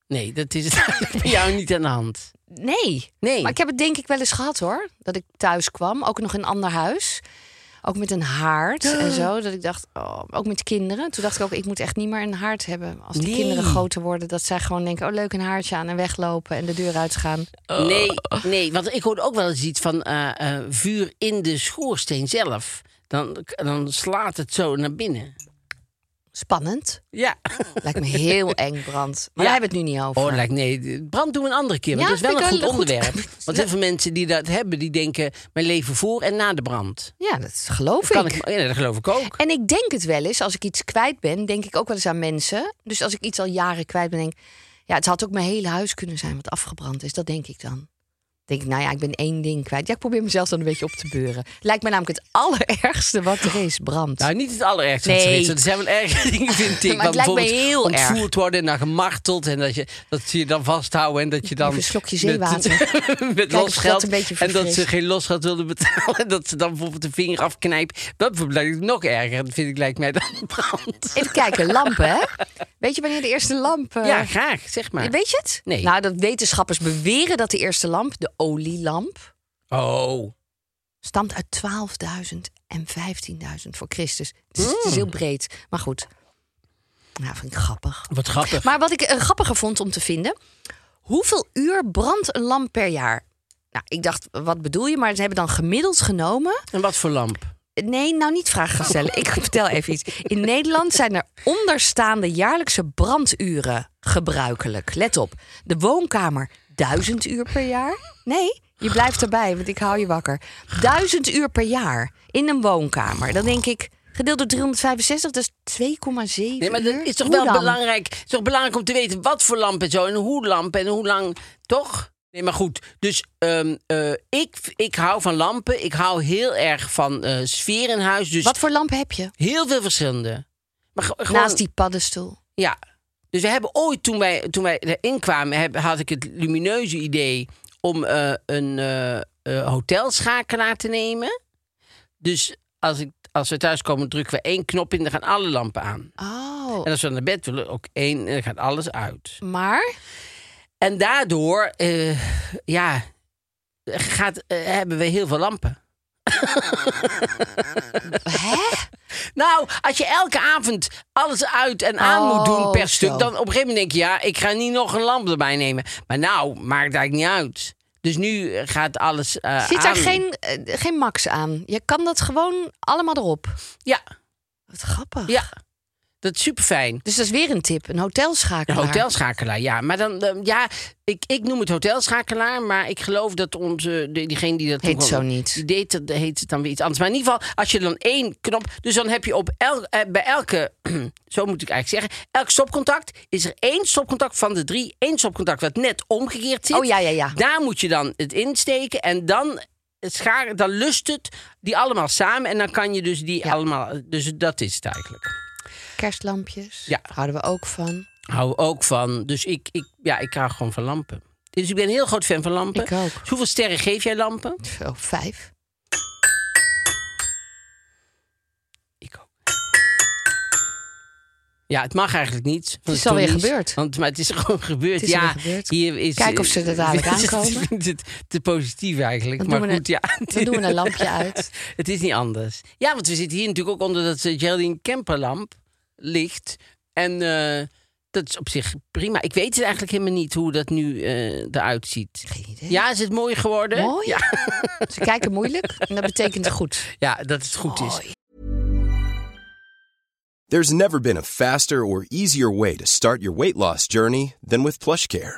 Speaker 5: Nee, dat is bij jou niet aan de hand.
Speaker 4: Nee.
Speaker 5: Nee.
Speaker 4: Maar ik heb het denk ik wel eens gehad hoor. Dat ik thuis kwam, ook nog in een ander huis. Ook met een haard en zo. Dat ik dacht, oh, ook met kinderen. Toen dacht ik ook, ik moet echt niet meer een haard hebben. Als de
Speaker 5: Nee.
Speaker 4: kinderen groter worden, dat zij gewoon denken... oh, leuk, een haartje aan en weglopen en de deur uitgaan.
Speaker 5: Oh. Nee, nee, want ik hoorde ook wel eens iets van eh, eh, vuur in de schoorsteen zelf. Dan, dan slaat het zo naar binnen.
Speaker 4: Spannend.
Speaker 5: Ja.
Speaker 4: Lijkt me heel eng, brand. Maar
Speaker 5: Ja.
Speaker 4: daar hebben we het nu niet over.
Speaker 5: Oh, lijkt nee. Brand doen we een andere keer. Want
Speaker 4: Ja,
Speaker 5: dat is wel
Speaker 4: vind
Speaker 5: een
Speaker 4: ik
Speaker 5: goed
Speaker 4: wel een
Speaker 5: onderwerp.
Speaker 4: goed-
Speaker 5: Want heel veel mensen die dat hebben, die denken... mijn leven voor en na de brand.
Speaker 4: Ja, dat geloof
Speaker 5: Kan
Speaker 4: ik.
Speaker 5: ik, ja, dat geloof ik ook.
Speaker 4: En ik denk het wel eens, als ik iets kwijt ben, denk ik ook wel eens aan mensen. Dus als ik iets al jaren kwijt ben, denk ik, ja, het had ook mijn hele huis kunnen zijn wat afgebrand is. Dat denk ik dan. Denk ik, nou ja, ik ben één ding kwijt. Ja, ik probeer mezelf dan een beetje op te beuren. Lijkt me namelijk het allerergste wat er is, brand.
Speaker 5: Nou, niet het allerergste wat er
Speaker 4: Nee.
Speaker 5: is. want Er zijn wel erge dingen, vind ik.
Speaker 4: Maar het
Speaker 5: Want
Speaker 4: lijkt me
Speaker 5: bijvoorbeeld
Speaker 4: heel
Speaker 5: ontvoerd worden en dan gemarteld. En dat, je, dat ze je dan vasthouden en dat je dan...
Speaker 4: Even een slokje
Speaker 5: met-
Speaker 4: zeewater.
Speaker 5: Met,
Speaker 4: of
Speaker 5: los
Speaker 4: dat
Speaker 5: geld.
Speaker 4: een beetje
Speaker 5: en dat ze
Speaker 4: verfrist.
Speaker 5: geen losgeld wilden betalen. En dat ze dan bijvoorbeeld de vinger afknijpen. Dat bijvoorbeeld lijkt me nog erger. Dat vind ik lijkt mij dan brand.
Speaker 4: Even kijken, lampen, hè? Weet je wanneer de eerste lamp... eh,
Speaker 5: Ja, graag. Zeg maar.
Speaker 4: Weet je het?
Speaker 5: Nee.
Speaker 4: Nou, dat wetenschappers beweren dat de eerste lamp, de olielamp,
Speaker 5: Oh.
Speaker 4: stamt uit 12.000 en 15.000 voor Christus. Dus het is heel breed. Maar goed. Nou, vind ik grappig.
Speaker 5: Wat grappig.
Speaker 4: Maar wat ik eh, grappiger vond om te vinden... hoeveel uur brandt een lamp per jaar? Nou, ik dacht, wat bedoel je? Maar ze hebben dan gemiddeld genomen...
Speaker 5: En wat voor lamp?
Speaker 4: Nee, nou niet vragen gaan stellen. Ik vertel even iets. In Nederland zijn er onderstaande jaarlijkse branduren gebruikelijk. Let op. De woonkamer, duizend uur per jaar. Nee, je blijft erbij, want ik hou je wakker. Duizend uur per jaar in een woonkamer. Dan denk ik, gedeeld door 365, dat is 2,7
Speaker 5: Nee, maar
Speaker 4: uur.
Speaker 5: dat is toch
Speaker 4: Hoe
Speaker 5: wel
Speaker 4: dan?
Speaker 5: belangrijk. Het is toch belangrijk om te weten wat voor lamp en zo. En hoe lamp en hoe lang. Toch? Nee, maar goed. Dus ehm, eh, ik, ik hou van lampen. Ik hou heel erg van eh, sfeer in huis. Dus
Speaker 4: Wat voor lamp heb je?
Speaker 5: heel veel verschillende. Maar ge- gewoon,
Speaker 4: Naast die paddenstoel.
Speaker 5: Ja. Dus we hebben ooit, toen wij, toen wij erin kwamen, heb- had ik het lumineuze idee om eh, een eh, eh, hotelschakelaar te nemen. Dus als, ik, als we thuis komen, drukken we één knop in, dan gaan alle lampen aan.
Speaker 4: Oh,
Speaker 5: En als we naar bed willen, ook één, en dan gaat alles uit.
Speaker 4: maar
Speaker 5: En daardoor, eh, ja, gaat, eh, hebben we heel veel lampen.
Speaker 4: hè?
Speaker 5: Nou, als je elke avond alles uit en aan moet doen
Speaker 4: Oh,
Speaker 5: per
Speaker 4: zo.
Speaker 5: stuk, dan op een gegeven moment denk je, ja, ik ga niet nog een lamp erbij nemen. Maar nou, maakt het eigenlijk niet uit. Dus nu eh, gaat alles eh,
Speaker 4: Zit daar
Speaker 5: aan.
Speaker 4: geen, eh, geen max aan? Je kan dat gewoon allemaal erop.
Speaker 5: Ja,
Speaker 4: Wat grappig.
Speaker 5: ja. Dat is super fijn.
Speaker 4: Dus dat is weer een tip. Een
Speaker 5: De
Speaker 4: hotelschakelaar.
Speaker 5: hotelschakelaar, ja. Maar dan, eh, ja, ik, ik noem het hotelschakelaar, maar ik geloof dat onze, de- diegene die dat toen
Speaker 4: Heet
Speaker 5: kwam-
Speaker 4: zo niet.
Speaker 5: Die deed, dat heet het dan weer iets anders. Maar in ieder geval, als je dan één knop, dus dan heb je op el, eh, bij elke, zo moet ik eigenlijk zeggen, elk stopcontact is er één stopcontact van de drie, één stopcontact wat net omgekeerd zit.
Speaker 4: Oh, ja, ja, ja.
Speaker 5: Daar moet je dan het insteken en dan scharen, dan lust het die allemaal samen en dan kan je dus die
Speaker 4: Ja.
Speaker 5: allemaal, dus dat is het eigenlijk.
Speaker 4: Kerstlampjes.
Speaker 5: Ja.
Speaker 4: Houden we ook van.
Speaker 5: hou ook van. Dus ik, ik, ja, ik hou gewoon van lampen. Dus ik ben een heel groot fan van lampen.
Speaker 4: Ik ook.
Speaker 5: Dus hoeveel sterren geef jij lampen?
Speaker 4: Zo, Oh, vijf.
Speaker 5: Ik ook. Ja, het mag eigenlijk niet. want
Speaker 4: is alweer
Speaker 5: toen is-
Speaker 4: gebeurd.
Speaker 5: Want, maar het is gewoon gebeurd.
Speaker 4: Het is
Speaker 5: ja,
Speaker 4: alweer gebeurd.
Speaker 5: Hier is,
Speaker 4: Kijk of ze er dadelijk aankomen.
Speaker 5: Ik vind het te positief eigenlijk.
Speaker 4: Dan
Speaker 5: maar
Speaker 4: doen we
Speaker 5: goed,
Speaker 4: een-
Speaker 5: ja.
Speaker 4: dan doen we een lampje uit.
Speaker 5: het is niet anders. Ja, want we zitten hier natuurlijk ook onder dat eh, Geraldine Kemperlamp ligt. En eh, dat is op zich prima. Ik weet het eigenlijk helemaal niet hoe dat nu eh eruit ziet.
Speaker 4: Geen idee.
Speaker 5: Ja, is het mooi geworden?
Speaker 4: Mooi. Ze kijken moeilijk en dat betekent goed.
Speaker 5: Ja, dat het goed is.
Speaker 6: There's never been a faster or easier way to start your weight loss journey than with PlushCare.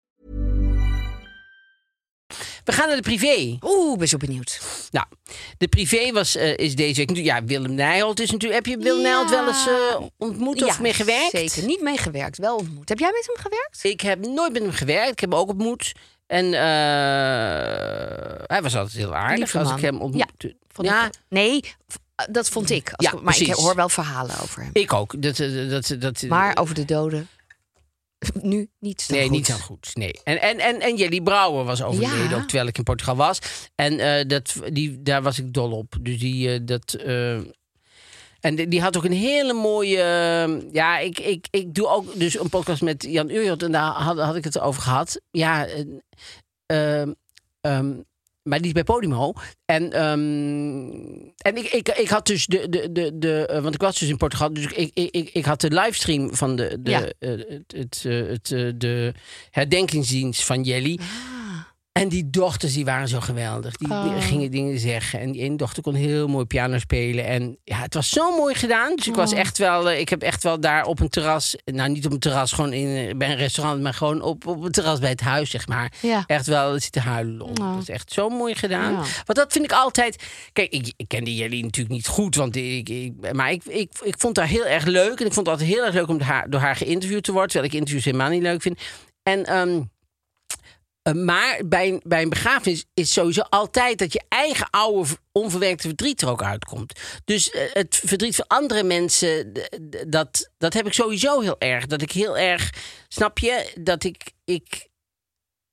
Speaker 5: We gaan naar de privé.
Speaker 4: Oeh, ben zo benieuwd.
Speaker 5: Nou, de privé was, eh, is deze week... natuurlijk- Ja, Willem Nijholt is natuurlijk... Heb je Willem
Speaker 4: Ja.
Speaker 5: Nijholt wel eens eh, ontmoet of mee gewerkt?
Speaker 4: Zeker, niet meegewerkt, wel ontmoet. Heb jij met hem gewerkt?
Speaker 5: Ik heb nooit met hem gewerkt. Ik heb hem ook ontmoet. En eh, hij was altijd heel aardig
Speaker 4: Lieve
Speaker 5: als
Speaker 4: man.
Speaker 5: ik hem ontmoette.
Speaker 4: Vond ik- nee, v- eh, dat vond ik. Als
Speaker 5: Ja,
Speaker 4: ik- Maar ik
Speaker 5: precies.
Speaker 4: hoor wel verhalen over hem.
Speaker 5: ik ook. Dat, eh, dat, dat, dat,
Speaker 4: Maar over de doden, nu niet zo
Speaker 5: nee,
Speaker 4: goed.
Speaker 5: niet zo goed. Nee. En, en, en, en Jelly Brouwer was overleden,
Speaker 4: Ja.
Speaker 5: ook terwijl ik in Portugal was. En eh, dat, die, daar was ik dol op. Dus die, eh, dat, eh, en die- die had ook een hele mooie... eh, ja, ik, ik, ik doe ook dus een podcast met Jan Uriot en daar had, had ik het over gehad. Ja, en, ehm, ehm, maar die is bij Podimo. En, ehm, en ik, ik, ik had dus de, de, de, de. eh, Want ik was dus in Portugal. Dus ik, ik, ik, ik had de livestream van de, de,
Speaker 4: Ja.
Speaker 5: eh, het, het, eh, het, eh, de herdenkingsdienst van Jelly. En die dochters die waren zo geweldig. Die
Speaker 4: Oh.
Speaker 5: gingen dingen zeggen. En die ene dochter kon heel mooi piano spelen. En ja, het was zo mooi gedaan. Dus ik
Speaker 4: Oh.
Speaker 5: was echt wel. eh, Ik heb echt wel daar op een terras. Nou, niet op een terras, gewoon in, eh, bij een restaurant. Maar gewoon op, op een terras bij het huis, zeg maar.
Speaker 4: Ja. Oh.
Speaker 5: Echt wel zitten huilen om. Dat is echt zo mooi gedaan.
Speaker 4: Ja.
Speaker 5: Want dat vind ik altijd. Kijk, ik, ik kende jullie natuurlijk niet goed. Want ik, ik, maar ik, ik, ik vond haar heel erg leuk. En ik vond het altijd heel erg leuk om door haar, door haar geïnterviewd te worden. Terwijl ik interviews helemaal niet leuk vind. En. ehm, eh, maar bij, een- bij een begrafenis is sowieso altijd dat je eigen oude v- onverwerkte verdriet er ook uitkomt. Dus eh, het verdriet van andere mensen, d- d- dat, dat heb ik sowieso heel erg. Dat ik heel erg, snap je, dat ik, ik,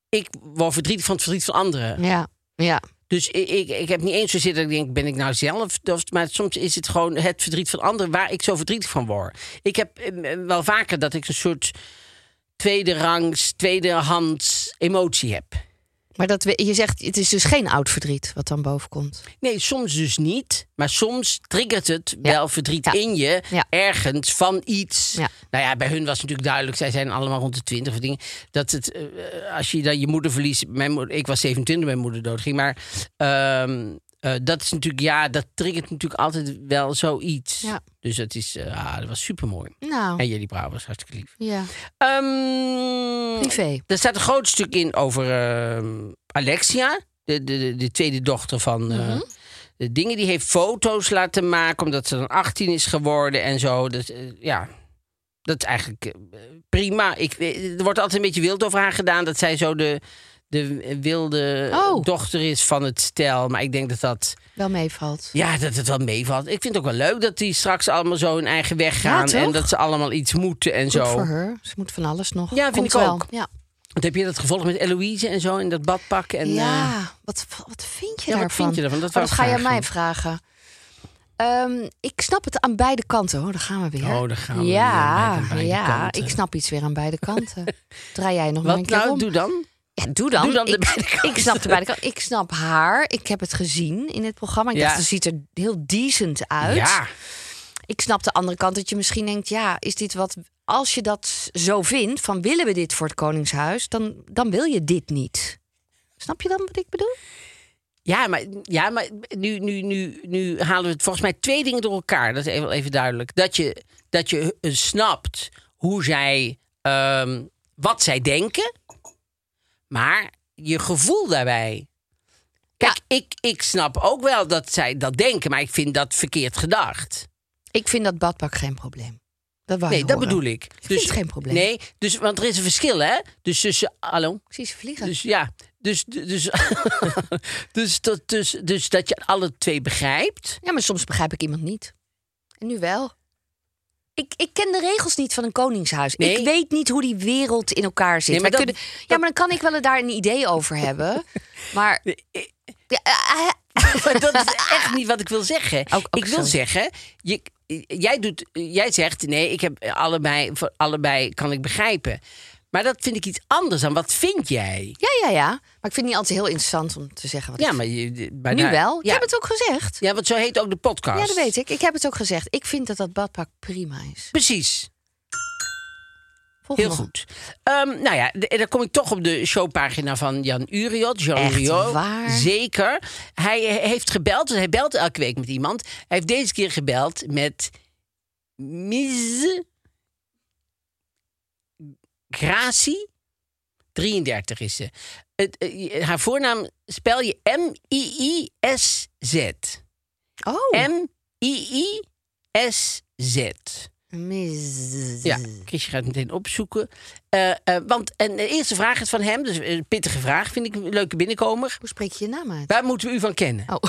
Speaker 5: ik word verdrietig van het verdriet van anderen.
Speaker 4: Ja, ja.
Speaker 5: Dus ik, ik, ik heb niet eens zozeer dat ik denk, ben ik nou zelf? dat- Maar soms is het gewoon het verdriet van anderen waar ik zo verdrietig van word. Ik heb eh, wel vaker dat ik een soort tweede rangs, tweedehands emotie heb.
Speaker 4: Maar dat, we- je zegt, het is dus geen oud verdriet wat dan boven komt.
Speaker 5: Nee, soms dus niet. Maar soms triggert het
Speaker 4: Ja.
Speaker 5: wel verdriet
Speaker 4: Ja.
Speaker 5: in je.
Speaker 4: Ja.
Speaker 5: Ergens van iets.
Speaker 4: Ja.
Speaker 5: Nou ja, bij hun was natuurlijk duidelijk. Zij zijn allemaal rond de twintig of dingen. Dat het, eh, als je dan je moeder verliest. Mijn moeder, ik was 27 toen mijn moeder doodging. Maar ehm, eh, dat is natuurlijk, ja, dat triggert natuurlijk altijd wel zoiets.
Speaker 4: Ja.
Speaker 5: Dus dat is, eh, ah, dat was super mooi.
Speaker 4: Nou,
Speaker 5: En jullie brouw was hartstikke lief.
Speaker 4: ja.
Speaker 5: Ehm,
Speaker 4: Privé.
Speaker 5: er staat een groot stuk in over ehm, Alexia, de, de, de- de tweede dochter van eh,
Speaker 4: Mhm.
Speaker 5: de dingen. Die heeft foto's laten maken omdat ze dan 18 is geworden en zo. Dus, eh, ja, dat is eigenlijk eh, prima. Ik, eh, er wordt altijd een beetje wild over haar gedaan dat zij zo de, de wilde
Speaker 4: Oh.
Speaker 5: dochter is van het stel. Maar ik denk dat dat,
Speaker 4: Wel meevalt.
Speaker 5: ja, dat het wel meevalt. Ik vind het ook wel leuk dat die straks allemaal zo hun eigen weg gaan
Speaker 4: toch?
Speaker 5: en dat ze allemaal iets moeten en
Speaker 4: Goed
Speaker 5: zo.
Speaker 4: voor haar. Ze moet van alles nog.
Speaker 5: Ja, vind
Speaker 4: Komt
Speaker 5: ik
Speaker 4: wel.
Speaker 5: ook.
Speaker 4: Ja,
Speaker 5: Want heb je dat gevolgd met Eloïse en zo in dat badpak? En, eh,
Speaker 4: ja. Wat, wat vind je
Speaker 5: Ja, wat
Speaker 4: daarvan?
Speaker 5: vind je daarvan? Dat
Speaker 4: Oh,
Speaker 5: wou
Speaker 4: dat
Speaker 5: ik
Speaker 4: ga je aan
Speaker 5: vragen.
Speaker 4: mij vragen. Ehm, ik snap het aan beide kanten. hoor. daar gaan we weer.
Speaker 5: Oh, daar gaan we weer
Speaker 4: ja,
Speaker 5: aan beide- beide
Speaker 4: ja,
Speaker 5: kanten.
Speaker 4: ik snap iets weer aan beide kanten. Draai jij nog maar een
Speaker 5: Wat
Speaker 4: keer
Speaker 5: nou,
Speaker 4: om.
Speaker 5: doe dan?
Speaker 4: Ja, doe dan.
Speaker 5: Doe dan de
Speaker 4: ik,
Speaker 5: beide kanten.
Speaker 4: ik snap de beide kanten. Ik snap haar. Ik heb het gezien in het programma. Ik
Speaker 5: Ja.
Speaker 4: dacht, ze ziet er heel decent uit.
Speaker 5: Ja,
Speaker 4: Ik snap de andere kant dat je misschien denkt... ja, is dit wat... Als je dat zo vindt, van willen we dit voor het Koningshuis... dan, dan wil je dit niet. Snap je dan wat ik bedoel?
Speaker 5: ja maar, ja, maar nu, nu, nu, nu halen we het volgens mij twee dingen door elkaar. Dat is even, even duidelijk. Dat je, dat je eh, snapt hoe zij, ehm, wat zij denken, maar je gevoel daarbij. Kijk, ik, ik snap ook wel dat zij dat denken, maar ik vind dat verkeerd gedacht.
Speaker 4: Ik vind dat badpak geen probleem. Dat wou
Speaker 5: Nee,
Speaker 4: je
Speaker 5: dat
Speaker 4: horen.
Speaker 5: bedoel ik.
Speaker 4: vind het geen probleem.
Speaker 5: Nee, dus, want er is een verschil, hè? Dus tussen. Hallo?
Speaker 4: Ik zie ze vliegen.
Speaker 5: Dus ja, dus, dus, dus, dat, dus, dus dat je alle twee begrijpt.
Speaker 4: Ja, maar soms begrijp ik iemand niet. En nu wel. Ik, ik ken de regels niet van een koningshuis.
Speaker 5: Nee.
Speaker 4: Ik weet niet hoe die wereld in elkaar zit.
Speaker 5: Nee, maar
Speaker 4: Wij
Speaker 5: dat-
Speaker 4: kunnen- ja, maar dan kan ik wel daar een idee over hebben. Maar... Ja, eh, eh,
Speaker 5: Maar dat is echt niet wat ik wil zeggen.
Speaker 4: Ook- ook
Speaker 5: ik wil
Speaker 4: sorry.
Speaker 5: zeggen, je, jij, doet, jij zegt nee, ik heb allebei, voor allebei kan ik begrijpen. Maar dat vind ik iets anders dan wat vind jij?
Speaker 4: ja, ja, ja. Maar ik vind het niet altijd heel interessant om te zeggen wat
Speaker 5: Ja,
Speaker 4: ik
Speaker 5: maar je,
Speaker 4: vind.
Speaker 5: maar
Speaker 4: Nu
Speaker 5: daar-
Speaker 4: wel. Ik
Speaker 5: Ja.
Speaker 4: heb het ook gezegd.
Speaker 5: ja, want zo heet ook de podcast.
Speaker 4: Ja, dat weet ik. Ik heb het ook gezegd. Ik vind dat dat badpak prima is.
Speaker 5: Precies.
Speaker 4: Volgende.
Speaker 5: Heel goed. Ehm, nou ja, de- dan kom ik toch op de showpagina van Jan Uriot. Jean
Speaker 4: Echt
Speaker 5: Uriot.
Speaker 4: waar?
Speaker 5: Zeker. Hij eh, heeft gebeld, dus hij belt elke week met iemand. Hij heeft deze keer gebeld met Ms. Gracie. 33 is ze. Het, eh, haar voornaam spel je M-I-I-S-Z.
Speaker 4: Oh.
Speaker 5: M-I-I-S-Z.
Speaker 4: Mis-
Speaker 5: Ja, Chrisje gaat het meteen opzoeken. Eh, eh, want en de eerste vraag is van hem, dus een pittige vraag, vind ik een leuke binnenkomer.
Speaker 4: Hoe spreek je je naam uit?
Speaker 5: Waar moeten we u van kennen?
Speaker 4: Oh.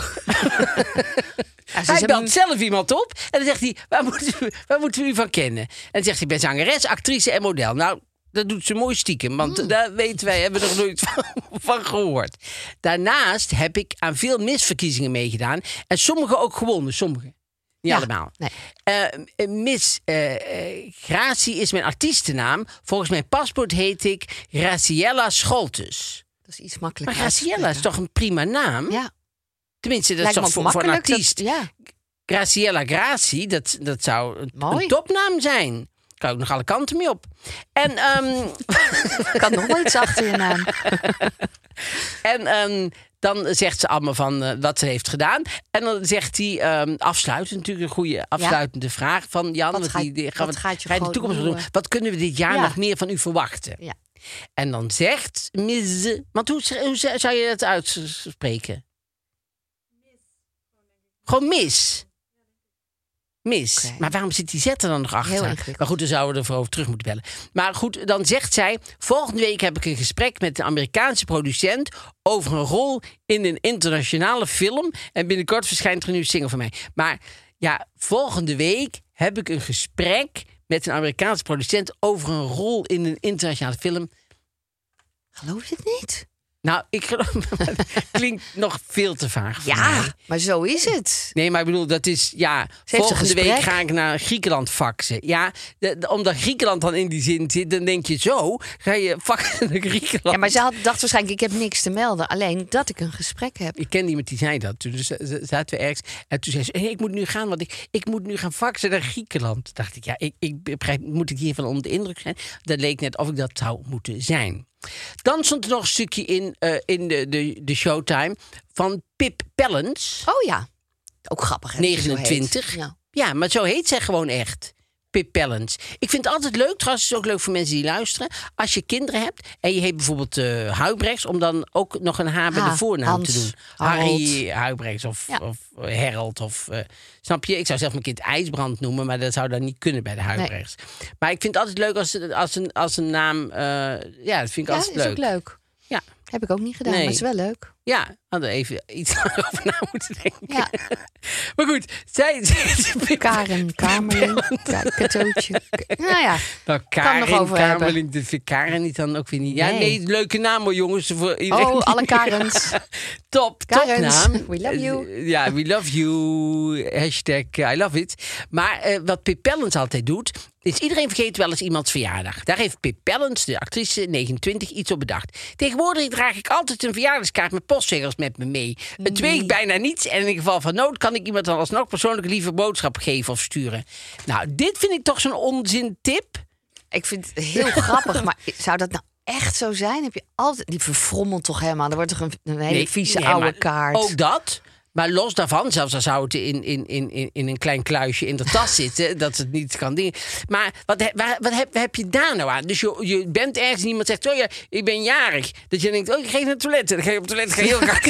Speaker 4: Ja, ze
Speaker 5: hij
Speaker 4: zijn-
Speaker 5: belt zelf iemand op en dan zegt hij, waar moeten, we, waar moeten we u van kennen? En dan zegt hij, ik ben zangeres, actrice en model. Nou, dat doet ze mooi stiekem,
Speaker 4: Mm.
Speaker 5: want daar weten wij, hebben we nog nooit van, van gehoord. Daarnaast heb ik aan veel misverkiezingen meegedaan. En sommige ook gewonnen, sommige. Niet
Speaker 4: Ja,
Speaker 5: allemaal.
Speaker 4: nee.
Speaker 5: Eh, Miss eh, eh, Gracie is mijn artiestennaam. Volgens mijn paspoort heet ik Graciella Scholtes.
Speaker 4: Dat is iets makkelijker.
Speaker 5: Maar Graciella is
Speaker 4: uitspreken.
Speaker 5: toch een prima naam?
Speaker 4: Ja.
Speaker 5: Tenminste, dat
Speaker 4: Lijkt
Speaker 5: is
Speaker 4: me
Speaker 5: toch
Speaker 4: ook
Speaker 5: voor, voor een
Speaker 4: makkelijk, dat-
Speaker 5: artiest.
Speaker 4: ja.
Speaker 5: Graciella Gracie, dat, dat zou een,
Speaker 4: Mooi.
Speaker 5: een topnaam zijn. Kan ook nog alle kanten mee op. En, ehm,
Speaker 4: kan nog wel iets achter je naam.
Speaker 5: en ehm, dan zegt ze allemaal van eh, wat ze heeft gedaan. En dan zegt hij, ehm afsluitend natuurlijk een goede afsluitende vraag van Jan.
Speaker 4: Wat
Speaker 5: want
Speaker 4: ga-
Speaker 5: die, die gaan
Speaker 4: wat
Speaker 5: we-
Speaker 4: gaat je
Speaker 5: ga in de
Speaker 4: groot
Speaker 5: toekomst nog
Speaker 4: nieuwe-
Speaker 5: doen? Wat kunnen we dit jaar
Speaker 4: Ja.
Speaker 5: nog meer van u verwachten?
Speaker 4: Ja.
Speaker 5: En dan zegt Miss... Want hoe, hoe zou je dat uitspreken? Gewoon mis. Mis.
Speaker 4: Oké.
Speaker 5: Maar waarom zit die zet er dan nog achter?
Speaker 4: Heel ingewikkeld.
Speaker 5: maar goed, dan zouden we ervoor over terug moeten bellen. Maar goed, dan zegt zij... Volgende week heb ik een gesprek met een Amerikaanse producent... over een rol in een internationale film. En binnenkort verschijnt er een nieuwe single van mij. Maar ja, volgende week heb ik een gesprek... met een Amerikaanse producent over een rol in een internationale film.
Speaker 4: Geloof je het niet?
Speaker 5: Nou, ik geloof... het klinkt nog veel te vaag voor mij.
Speaker 4: Ja, maar zo is het.
Speaker 5: Nee, maar ik bedoel, dat is... Ja,
Speaker 4: een
Speaker 5: volgende week
Speaker 4: gesprek.
Speaker 5: ga ik naar Griekenland faxen. Ja, de- de- omdat Griekenland dan in die zin zit, dan denk je zo... Ga je faxen naar Griekenland.
Speaker 4: Ja, maar ze had, dacht waarschijnlijk, ik heb niks te melden. Alleen dat ik een gesprek heb.
Speaker 5: Ik ken iemand die zei dat. Toen dus z- z- zaten we ergens. En toen zei ze, "Hey, ik moet nu gaan, want ik, ik moet nu gaan faxen naar Griekenland. Toen dacht ik, ja, ik, ik begrijp, moet ik hiervan onder de indruk zijn? Dat leek net of ik dat zou moeten zijn. Dan stond er nog een stukje in, eh, in de, de, de showtime van Pip Pellens.
Speaker 4: Oh ja, ook grappig. hè, dat je zo heet.
Speaker 5: 29.
Speaker 4: Ja.
Speaker 5: Ja, maar zo heet zij gewoon echt. Pip Pellens. Ik vind het altijd leuk, trouwens het is ook leuk voor mensen die luisteren. Als je kinderen hebt en je heet bijvoorbeeld eh Huibrechts... om dan ook nog een H bij
Speaker 4: Ha,
Speaker 5: de voornaam
Speaker 4: Hans,
Speaker 5: te doen. Harry Huibrechts of,
Speaker 4: Ja.
Speaker 5: of Harold. Of, eh, snap je? Ik zou zelf mijn kind IJsbrand noemen... maar dat zou dan niet kunnen bij de Huibrechts. Maar ik vind het altijd leuk als, als, een, als een naam... eh, ja, dat vind ik
Speaker 4: Ja,
Speaker 5: altijd
Speaker 4: is ook leuk.
Speaker 5: Ja.
Speaker 4: Heb ik ook niet gedaan,
Speaker 5: Nee.
Speaker 4: maar is wel leuk.
Speaker 5: Ja, hadden we even iets langer over na moeten denken.
Speaker 4: Ja.
Speaker 5: Maar goed, zij...
Speaker 4: Karen, Kamerling, Ka- Katootje. K- Nou ja,
Speaker 5: Nou,
Speaker 4: Kan
Speaker 5: Karin,
Speaker 4: nog over hebben.
Speaker 5: Kamerling, dat vind ik Karen niet dan ook weer niet. Ja, nee,
Speaker 4: Nee.
Speaker 5: leuke naam hoor, jongens. Voor iedereen
Speaker 4: oh,
Speaker 5: die-
Speaker 4: alle Karens.
Speaker 5: Top,
Speaker 4: Karens,
Speaker 5: topnaam.
Speaker 4: we love you.
Speaker 5: Ja, we love you. Hashtag eh, I love it. Maar eh, wat Pip Pellens altijd doet, is iedereen vergeet wel eens iemands verjaardag. Daar heeft Pip Pellens, de actrice, 29, iets op bedacht. Tegenwoordig draag ik altijd een verjaardagskaart met postzegels met me mee. Het weegt bijna niets en in geval van nood kan ik iemand dan alsnog persoonlijk een lieve boodschap geven of sturen. Nou, dit vind ik toch zo'n onzin tip.
Speaker 4: Ik vind het heel grappig, maar zou dat nou echt zo zijn? Heb je altijd... Die verfrommelt toch helemaal? Er wordt toch een, een hele
Speaker 5: Nee,
Speaker 4: vieze
Speaker 5: nee, maar
Speaker 4: oude kaart.
Speaker 5: Ook dat. Maar los daarvan, zelfs al zou het in, in, in, in- in een klein kluisje in de tas zitten, dat het niet kan dingen. Maar wat, he- waar- wat, heb, heb je daar nou aan? Dus je, je bent ergens en iemand zegt: Oh ja, ik ben jarig. Dat je denkt: Oh, ik ga even naar het toilet. En dan ga je op het toilet, ga je heel graag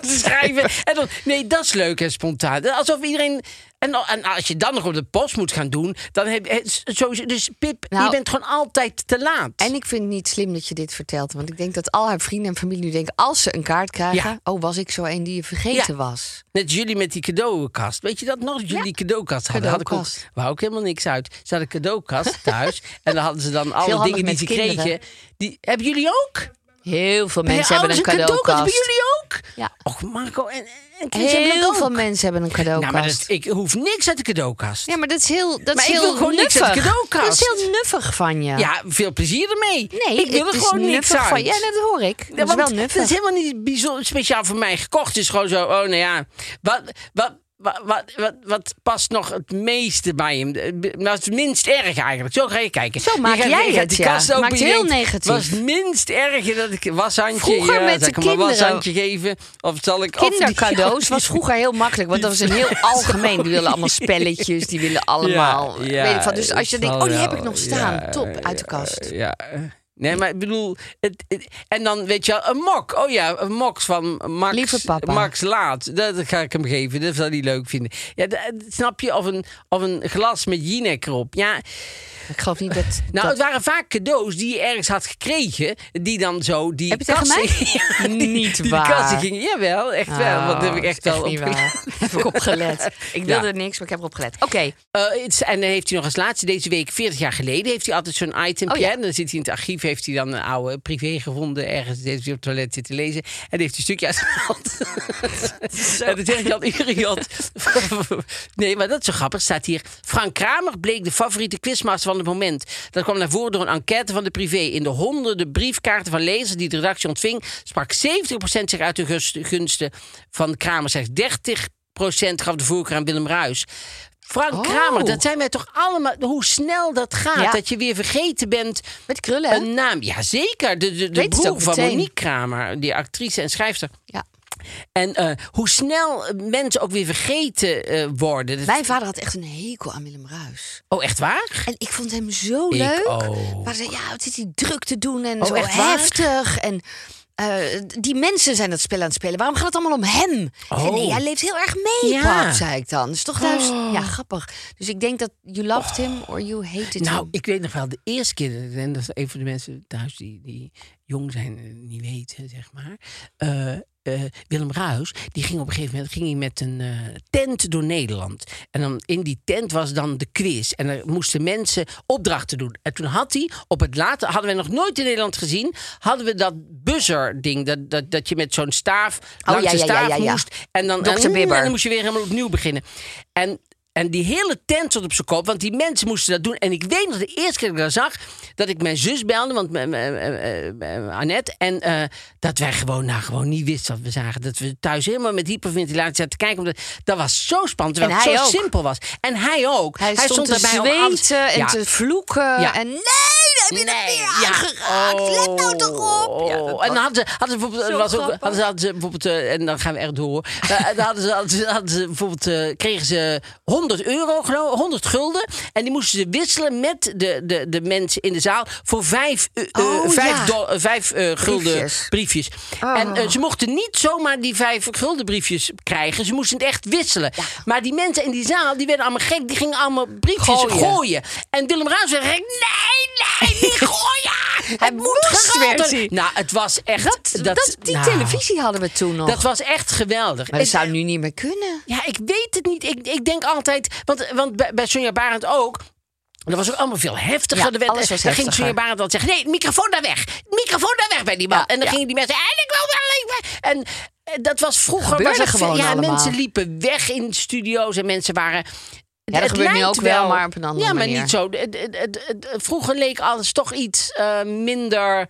Speaker 5: te schrijven. En dan, nee, dat is leuk en spontaan. Alsof iedereen En, al- en als je dan nog op de post moet gaan doen, dan heb je... Zo, dus Pip,
Speaker 4: Nou,
Speaker 5: je bent gewoon altijd te laat.
Speaker 4: En ik vind het niet slim dat je dit vertelt. Want ik denk dat al haar vrienden en familie nu denken... als ze een kaart krijgen...
Speaker 5: Ja.
Speaker 4: oh, was ik zo een die je vergeten
Speaker 5: Ja.
Speaker 4: was.
Speaker 5: Net jullie met die cadeaukast. Weet je dat nog? Jullie die cadeaukast hadden. Had ik ook,
Speaker 4: Cadeaukast.
Speaker 5: wou ook helemaal niks uit. Ze hadden een cadeaukast thuis. en dan hadden ze dan alle
Speaker 4: handig
Speaker 5: dingen die
Speaker 4: met
Speaker 5: ze
Speaker 4: kinderen.
Speaker 5: kregen. Die, hebben jullie ook?
Speaker 4: Heel veel
Speaker 5: Bij
Speaker 4: mensen
Speaker 5: je
Speaker 4: hebben
Speaker 5: ouders
Speaker 4: een cadeaukast.
Speaker 5: Bij jullie ook?
Speaker 4: Ja.
Speaker 5: Och, Marco en, en Chris hebben dat
Speaker 4: Heel
Speaker 5: ook.
Speaker 4: veel mensen hebben een
Speaker 5: Nou,
Speaker 4: cadeaukast.
Speaker 5: maar dat, ik hoef niks uit de cadeaukast.
Speaker 4: Ja, maar dat is heel, dat
Speaker 5: Maar
Speaker 4: is
Speaker 5: ik
Speaker 4: heel
Speaker 5: wil gewoon niks
Speaker 4: nuffig.
Speaker 5: uit de cadeaukast.
Speaker 4: Dat is heel nuffig van je.
Speaker 5: Ja, veel plezier ermee.
Speaker 4: Nee,
Speaker 5: ik wil
Speaker 4: het
Speaker 5: er
Speaker 4: is
Speaker 5: gewoon niks
Speaker 4: nuffig
Speaker 5: uit.
Speaker 4: Van, ja, dat hoor ik. Dat is
Speaker 5: want
Speaker 4: wel nuffig.
Speaker 5: Het is helemaal niet bijzonder, speciaal voor mij gekocht. Het is gewoon zo, oh nou ja, wat, wat, wat, wat, wat, wat past nog het meeste bij hem? Eh, Wat is het minst erg eigenlijk? Zo ga je kijken.
Speaker 4: Zo
Speaker 5: Je
Speaker 4: maak
Speaker 5: gaat- je
Speaker 4: jij
Speaker 5: gaat
Speaker 4: het,
Speaker 5: die
Speaker 4: ja.
Speaker 5: kast open
Speaker 4: Maakt
Speaker 5: en je
Speaker 4: heel
Speaker 5: denkt,
Speaker 4: negatief.
Speaker 5: Wat is het minst erg dat ik washandje,
Speaker 4: Vroeger
Speaker 5: ja,
Speaker 4: met
Speaker 5: zal
Speaker 4: de
Speaker 5: ik hem een
Speaker 4: kinderen.
Speaker 5: washandje geven? Of zal ik... of die-
Speaker 4: Kindercadeaus was vroeger heel makkelijk, want dat was een heel algemeen. Die willen allemaal spelletjes, die willen allemaal.
Speaker 5: Ja, ja,
Speaker 4: weet ik van. Dus als je
Speaker 5: het
Speaker 4: denkt,
Speaker 5: zal
Speaker 4: oh, die heb
Speaker 5: wel.
Speaker 4: ik nog staan.
Speaker 5: Ja,
Speaker 4: Top, uit de kast.
Speaker 5: Eh, Ja. Nee, maar ik bedoel, het, het- en dan weet je wel, een mok. Oh ja, een mok van Max,
Speaker 4: Lieve papa.
Speaker 5: Max Laat. Dat ga ik hem geven, dat zal hij leuk vinden. Ja, dat- snap je? Of een, of een glas met Jinek erop. Ja,
Speaker 4: Ik geloof niet dat.
Speaker 5: nou,
Speaker 4: dat-
Speaker 5: het waren vaak cadeaus die je ergens had gekregen, die dan zo die
Speaker 4: Heb je tegen
Speaker 5: kassen-
Speaker 4: mij?
Speaker 5: Ja, die-
Speaker 4: Niet
Speaker 5: die
Speaker 4: waar.
Speaker 5: Die kassen gingen, jawel, echt wel. Want dat heb ik
Speaker 4: Oh,
Speaker 5: echt
Speaker 4: dat is
Speaker 5: wel
Speaker 4: niet
Speaker 5: opge-
Speaker 4: waar. Daar heb ik op gelet. Ik wilde niks, maar ik heb erop gelet. Oké,
Speaker 5: Eh, het is- en dan heeft hij nog als laatste deze week, 40 jaar geleden, heeft hij altijd zo'n itempje.
Speaker 4: Oh ja.
Speaker 5: En dan zit hij in het archief, heeft hij dan een oude privé gevonden. Ergens heeft hij op het toilet zitten lezen. En heeft hij een stukje uitgehaald. en dan zegt Jan Uriot. nee, maar dat is zo grappig. Staat hier. Frank Kramer bleek de favoriete quizmaster van het moment. Dat kwam naar voren door een enquête van de privé. In de honderden briefkaarten van lezers die de redactie ontving, sprak 70% zich uit de gus- gunsten van Kramer. Slechts 30% gaf de voorkeur aan Willem Ruis. Frank
Speaker 4: Oh.
Speaker 5: Kramer, dat zijn wij toch allemaal. Hoe snel dat gaat,
Speaker 4: Ja.
Speaker 5: dat je weer vergeten bent.
Speaker 4: met krullen. hè?
Speaker 5: Een naam, ja zeker. De, de, de
Speaker 4: Weet het
Speaker 5: broer
Speaker 4: ook
Speaker 5: van
Speaker 4: meteen.
Speaker 5: Monique Kramer, die actrice en schrijfster.
Speaker 4: Ja.
Speaker 5: En eh, hoe snel eh, mensen ook weer vergeten eh, worden. Dat-
Speaker 4: Mijn vader had echt een hekel aan Willem Ruis.
Speaker 5: Oh, echt waar?
Speaker 4: En ik vond hem zo
Speaker 5: Ik
Speaker 4: leuk.
Speaker 5: ook.
Speaker 4: Maar ze, ja, wat zit hij druk te doen en
Speaker 5: Oh,
Speaker 4: zo
Speaker 5: echt waar?
Speaker 4: heftig. En eh, die mensen zijn dat spel aan het spelen. Waarom gaat het allemaal om hem? Ik zei, nee, hij leeft heel erg mee,
Speaker 5: Oh. Ja. Oh.
Speaker 4: pap, zei ik dan. Dus toch thuis, ja, grappig. Dus ik denk dat you loved him or you hated
Speaker 5: Nou,
Speaker 4: him.
Speaker 5: ik weet nog wel, de eerste keer, en dat is een van de mensen thuis die, die jong zijn en niet weten, zeg maar. Eh, eh, Willem Ruis, die ging op een gegeven moment ging hij met een eh, tent door Nederland. En dan in die tent was dan de quiz. En er moesten mensen opdrachten doen. En toen had hij op het laatste, hadden we nog nooit in Nederland gezien, hadden we dat buzzer-ding. Dat, dat, dat je met zo'n staaf langs
Speaker 4: Oh, ja,
Speaker 5: de
Speaker 4: ja, ja,
Speaker 5: staaf
Speaker 4: ja, ja.
Speaker 5: moest. En dan,
Speaker 4: Dr.
Speaker 5: en- en
Speaker 4: Bibber.
Speaker 5: dan moest je weer helemaal opnieuw beginnen. En, en die hele tent zat op zijn kop, want die mensen moesten dat doen. En ik weet nog de eerste keer dat ik dat zag, dat ik mijn zus belde, want mijn- mijn- eh, eh, eh, Annette. En eh, dat wij gewoon, nou, gewoon niet wisten wat we zagen. Dat we thuis helemaal met hyperventilatie zaten te kijken. Omdat, dat was zo spannend, terwijl
Speaker 4: En
Speaker 5: het zo
Speaker 4: hij ook.
Speaker 5: simpel was. En hij ook.
Speaker 4: hij, stond,
Speaker 5: erbij
Speaker 4: te
Speaker 5: om alles-
Speaker 4: zweten en
Speaker 5: Ja.
Speaker 4: te vloeken.
Speaker 5: Ja.
Speaker 4: En nee, daar heb je het
Speaker 5: Nee, Oh.
Speaker 4: weer aangeraakt. Let nou toch op. Ja, dat was-
Speaker 5: en dan hadden ze, hadden ze bijvoorbeeld,
Speaker 4: Zo
Speaker 5: er was ook,
Speaker 4: grappig.
Speaker 5: hadden ze, hadden ze bijvoorbeeld eh, en dan gaan we echt door. Eh, dan hadden ze, hadden ze, hadden ze bijvoorbeeld, eh, kregen ze 100 euro, geloof, 100 gulden. En die moesten ze wisselen met de, de, de mensen in de zaal voor eh, 5,
Speaker 4: Oh, ja.
Speaker 5: eh, gulden briefjes.
Speaker 4: Briefjes. Ah.
Speaker 5: En eh, ze mochten niet zomaar die 5 gulden briefjes krijgen. Ze moesten het echt wisselen. Maar die mensen in die zaal, die werden allemaal gek. Die gingen allemaal briefjes gooien.
Speaker 4: Gooien.
Speaker 5: En Willem Raas zei, nee, nee, niet gooien.
Speaker 4: Hij
Speaker 5: Het
Speaker 4: moest
Speaker 5: gegaan
Speaker 4: weer
Speaker 5: worden.
Speaker 4: zien.
Speaker 5: Nou, het was echt...
Speaker 4: dat, dat- die
Speaker 5: nou,
Speaker 4: televisie hadden we toen nog.
Speaker 5: Dat was echt geweldig.
Speaker 4: maar dat
Speaker 5: Het-
Speaker 4: zou nu niet meer kunnen.
Speaker 5: Ja, ik weet het niet. Ik, ik denk altijd... Want, want bij, bij Sonja Barend ook... Dat was ook allemaal veel heftiger.
Speaker 4: Ja,
Speaker 5: Er werd-
Speaker 4: alles was
Speaker 5: dan ging
Speaker 4: heftiger.
Speaker 5: Sonja Barend dan zeggen... Nee, microfoon daar weg. Microfoon daar weg bij die man.
Speaker 4: Ja,
Speaker 5: en dan
Speaker 4: ja.
Speaker 5: gingen die mensen... En ik wil wel... ik wil- En eh, dat was vroeger...
Speaker 4: Gebeurde
Speaker 5: was het veel-
Speaker 4: gewoon
Speaker 5: Ja,
Speaker 4: allemaal.
Speaker 5: mensen liepen weg in studio's. En mensen waren...
Speaker 4: Ja, dat
Speaker 5: het
Speaker 4: gebeurt nu
Speaker 5: lijkt
Speaker 4: ook wel, maar op een andere
Speaker 5: Ja, maar
Speaker 4: manier.
Speaker 5: niet zo. Het- het- het- het- vroeger leek alles toch iets eh, minder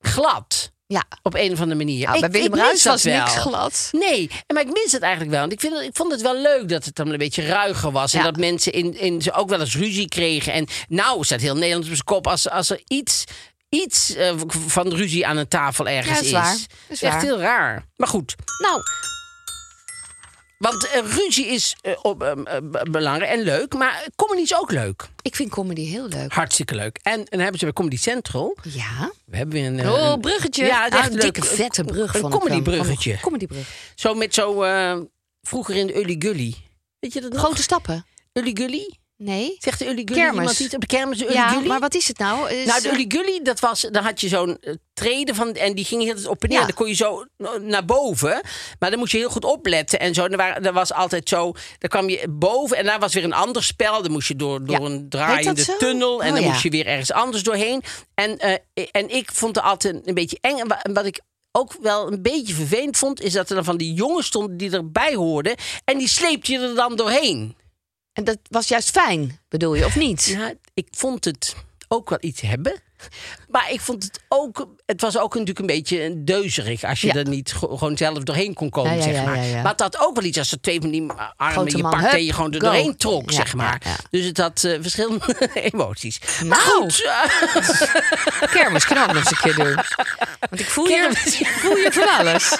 Speaker 5: glad.
Speaker 4: Ja,
Speaker 5: Op een of andere manier.
Speaker 4: nou, bij Willem
Speaker 5: mis
Speaker 4: Ruijs
Speaker 5: dat
Speaker 4: was
Speaker 5: wel.
Speaker 4: niks glad.
Speaker 5: Nee, en maar ik mis het eigenlijk wel. Want ik, vind, het- ik vond het wel leuk dat het dan een beetje ruiger was. En
Speaker 4: Ja.
Speaker 5: dat mensen in, in, ze ook wel eens ruzie kregen. En nou staat heel Nederland op zijn kop als, als er iets, iets eh, van ruzie aan een tafel ergens
Speaker 4: Ja, dat is waar. Dat is
Speaker 5: Echt
Speaker 4: waar.
Speaker 5: heel raar. Maar goed,
Speaker 4: Nou,
Speaker 5: want eh, ruzie is eh, op, eh, eh, b- belangrijk en leuk. Maar comedy is ook leuk.
Speaker 4: ik vind comedy heel leuk.
Speaker 5: Hartstikke leuk. En, en dan hebben ze bij Comedy Central.
Speaker 4: Ja.
Speaker 5: We hebben weer een. eh,
Speaker 4: Oh,
Speaker 5: een-
Speaker 4: bruggetje.
Speaker 5: Ja, het is
Speaker 4: Ah,
Speaker 5: echt
Speaker 4: een
Speaker 5: leuk.
Speaker 4: dikke vette brug
Speaker 5: Een
Speaker 4: vond ik hem.
Speaker 5: comedybruggetje.
Speaker 4: Van een Comedybrug.
Speaker 5: Zo met zo. eh, vroeger in de Uli Gully. Weet je dat nog?
Speaker 4: Grote stappen?
Speaker 5: Uli Gully?
Speaker 4: Nee.
Speaker 5: Zegt de Uli Gully
Speaker 4: Kermis.
Speaker 5: iemand iets op de kermis? de Uli
Speaker 4: Ja,
Speaker 5: Gully?
Speaker 4: maar wat is het nou? Is-
Speaker 5: Nou, de Uli Gully, dat was, dan had je zo'n eh, treden van, en die ging heel de tijd op en neer.
Speaker 4: Ja.
Speaker 5: Dan kon je zo n- naar boven, maar dan moest je heel goed opletten en zo. En Er, waren, er was altijd zo, dan kwam je boven en daar was weer een ander spel. Dan moest je door, door
Speaker 4: Ja.
Speaker 5: een
Speaker 4: Heet dat
Speaker 5: draaiende
Speaker 4: zo?
Speaker 5: tunnel en
Speaker 4: Oh,
Speaker 5: dan
Speaker 4: ja.
Speaker 5: moest je weer ergens anders doorheen. En, eh, eh, en ik vond het altijd een beetje eng. En wa- en wat ik ook wel een beetje vervelend vond, is dat er dan van die jongens stonden die erbij hoorden en die sleepte je er dan doorheen.
Speaker 4: En dat was juist fijn, bedoel je, of niet?
Speaker 5: Ja, ik vond het ook wel iets hebben. Maar ik vond het ook... Het was ook natuurlijk een beetje deuzerig... als je
Speaker 4: Ja.
Speaker 5: er niet ge- gewoon zelf doorheen kon komen,
Speaker 4: Ja, ja,
Speaker 5: zeg
Speaker 4: ja,
Speaker 5: maar.
Speaker 4: ja, ja.
Speaker 5: Maar het had ook wel iets als er twee van die armen
Speaker 4: Grote
Speaker 5: je
Speaker 4: man,
Speaker 5: pakte... en
Speaker 4: hup,
Speaker 5: je gewoon er
Speaker 4: go.
Speaker 5: doorheen trok,
Speaker 4: Ja,
Speaker 5: zeg maar.
Speaker 4: ja, ja.
Speaker 5: Dus het had eh, verschillende emoties. Maar
Speaker 4: Nou.
Speaker 5: goed... eh,
Speaker 4: Kermis kunnen we ook nog eens een keer doen. Want ik voel,
Speaker 5: Kermis.
Speaker 4: je, voel je van alles.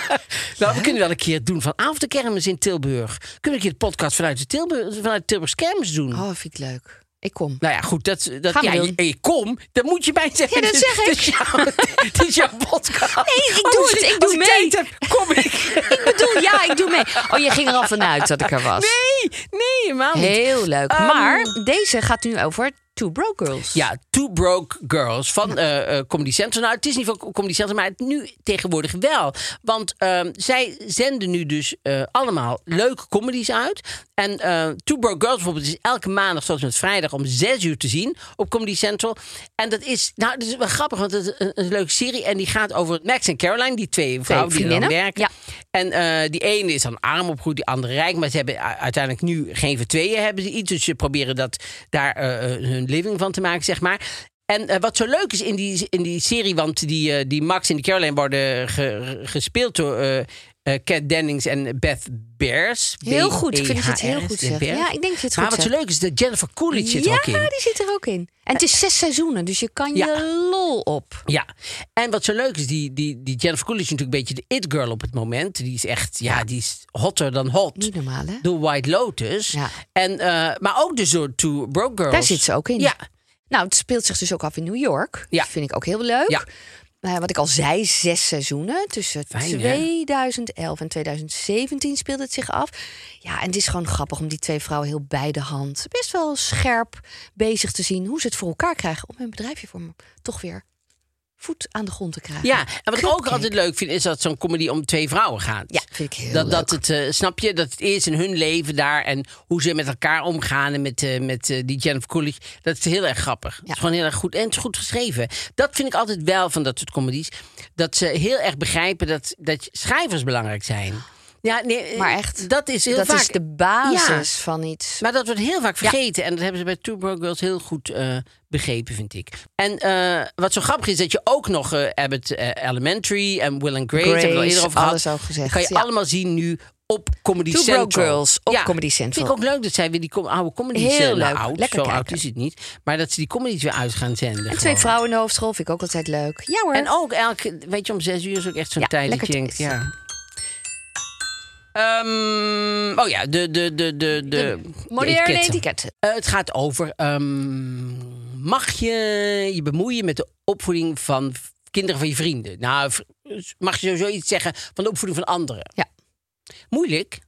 Speaker 5: nou, we kunnen wel een keer doen vanavond de kermis in Tilburg. Kunnen we een keer de podcast vanuit de, Tilburg, vanuit Tilburgs kermis doen?
Speaker 4: Oh, vind ik leuk. Ik kom.
Speaker 5: Nou ja, goed, dat, dat
Speaker 4: Gaan we
Speaker 5: ja,
Speaker 4: doen.
Speaker 5: je, en je kom, dan moet je bij zeggen.
Speaker 4: Ja, dat
Speaker 5: dit-
Speaker 4: zeg ik.
Speaker 5: Dit is jouw, dit is jouw podcast. Oh,
Speaker 4: Nee, ik
Speaker 5: Als
Speaker 4: doe het, Oh, ik
Speaker 5: als
Speaker 4: doe mee.
Speaker 5: tijd heb, kom ik.
Speaker 4: Ik bedoel, ja, ik doe mee. Oh, je ging er al vanuit dat ik er was.
Speaker 5: Nee, nee, helemaal niet.
Speaker 4: Heel leuk.
Speaker 5: Ehm,
Speaker 4: maar deze gaat nu over Two Broke Girls.
Speaker 5: Ja, Two Broke Girls van eh, eh, Comedy Central. Nou, het is niet van Comedy Central, maar het nu tegenwoordig wel. Want ehm, zij zenden nu dus eh, allemaal leuke comedies uit. En eh, Two Broke Girls bijvoorbeeld is elke maandag tot en met vrijdag om 6 uur te zien op Comedy Central. En dat is, nou, dat is wel grappig, want het is een, een leuke serie. En die gaat over Max en Caroline, die twee vrouwen die er dan
Speaker 4: vriendinnen,
Speaker 5: werken.
Speaker 4: ja.
Speaker 5: En eh, die ene is dan arm opgegroeid, die andere rijk. Maar ze hebben u- uiteindelijk nu geen van tweeën hebben ze iets. Dus ze proberen dat, daar eh, eh, hun living van te maken, zeg maar. En eh, wat zo leuk is in die, in die serie, want die, eh, die Max en die Caroline worden ge- gespeeld door eh, eh, Kat Dennings en Beth Bears.
Speaker 4: Heel goed, ik vind dat je het heel
Speaker 5: B-E-H-R-S,
Speaker 4: goed zegt.
Speaker 5: Bears.
Speaker 4: Ja, ik denk dat je het
Speaker 5: Maar
Speaker 4: goed
Speaker 5: wat zo
Speaker 4: zegt.
Speaker 5: leuk is, dat Jennifer Coolidge zit er
Speaker 4: ja,
Speaker 5: ook in. Eh,
Speaker 4: die zit er ook in. En het is zes seizoenen, dus je kan
Speaker 5: Ja.
Speaker 4: je lol op.
Speaker 5: Ja, en wat zo leuk is, die, die, die Jennifer Coolidge is natuurlijk een beetje de it-girl op het moment. Die is echt, ja, die is hotter dan hot.
Speaker 4: Niet normaal, hè?
Speaker 5: Door White Lotus.
Speaker 4: Ja.
Speaker 5: En, eh, maar ook dus door Two Broke Girls.
Speaker 4: Daar zit ze ook in.
Speaker 5: Ja,
Speaker 4: Nou, het speelt zich dus ook af in New York.
Speaker 5: Ja.
Speaker 4: Dat vind ik ook heel leuk.
Speaker 5: Ja.
Speaker 4: Eh, wat ik al zei, zes seizoenen. Tussen
Speaker 5: Fijn, hè?
Speaker 4: 2011 en 2017 speelde het zich af. Ja, en het is gewoon grappig om die twee vrouwen heel bij de hand... best wel scherp bezig te zien hoe ze het voor elkaar krijgen... om hun bedrijfje voor m- toch weer voet aan de grond te krijgen.
Speaker 5: ja. en wat ik ook
Speaker 4: Cupcake.
Speaker 5: altijd leuk vind, is dat zo'n comedy om twee vrouwen gaat.
Speaker 4: Ja, vind ik heel
Speaker 5: dat, dat
Speaker 4: leuk.
Speaker 5: het, eh, snap je, dat het eerst in hun leven daar en hoe ze met elkaar omgaan en met, eh, met eh, die Jennifer Coolidge. Dat is heel erg grappig. Het is gewoon heel erg goed en het is goed geschreven. Dat vind ik altijd wel van dat soort comedies. Dat ze heel erg begrijpen dat, dat schrijvers belangrijk zijn. Ja, nee, eh,
Speaker 4: Maar echt,
Speaker 5: Dat is heel
Speaker 4: dat
Speaker 5: vaak.
Speaker 4: is de basis van iets.
Speaker 5: Maar dat wordt heel vaak vergeten. En dat hebben ze bij Two Broke Girls heel goed eh, begrepen, vind ik. En eh, wat zo grappig is, dat je ook nog eh Abbott eh, Elementary en Will and Grace...
Speaker 4: Grace,
Speaker 5: hebben we al eerder over gehad.
Speaker 4: alles al gezegd,
Speaker 5: Kan je
Speaker 4: ja.
Speaker 5: allemaal zien nu op Comedy
Speaker 4: Two Broke
Speaker 5: Central.
Speaker 4: Girls op Comedy Central.
Speaker 5: Vind ik ook leuk dat zij weer die com- oude comedy
Speaker 4: Heel
Speaker 5: zenden.
Speaker 4: leuk.
Speaker 5: Oud,
Speaker 4: Lekker
Speaker 5: zo oud
Speaker 4: kijken.
Speaker 5: is het niet. Maar dat ze die comedies weer uit gaan zenden.
Speaker 4: en twee
Speaker 5: gewoon.
Speaker 4: vrouwen in de hoofdrol vind ik ook altijd leuk. Ja hoor.
Speaker 5: En ook elke, weet je, om zes uur is ook echt zo'n
Speaker 4: Ja,
Speaker 5: tijd dat
Speaker 4: lekker
Speaker 5: je denkt,
Speaker 4: tijd.
Speaker 5: ja. Ehm, oh ja, de, de, de, de, de,
Speaker 4: moderne
Speaker 5: etiketten.
Speaker 4: etiketten.
Speaker 5: Eh, het gaat over, ehm, mag je je bemoeien met de opvoeding van v- kinderen van je vrienden? Nou, v- mag je sowieso iets zeggen van de opvoeding van anderen?
Speaker 4: Ja.
Speaker 5: Moeilijk?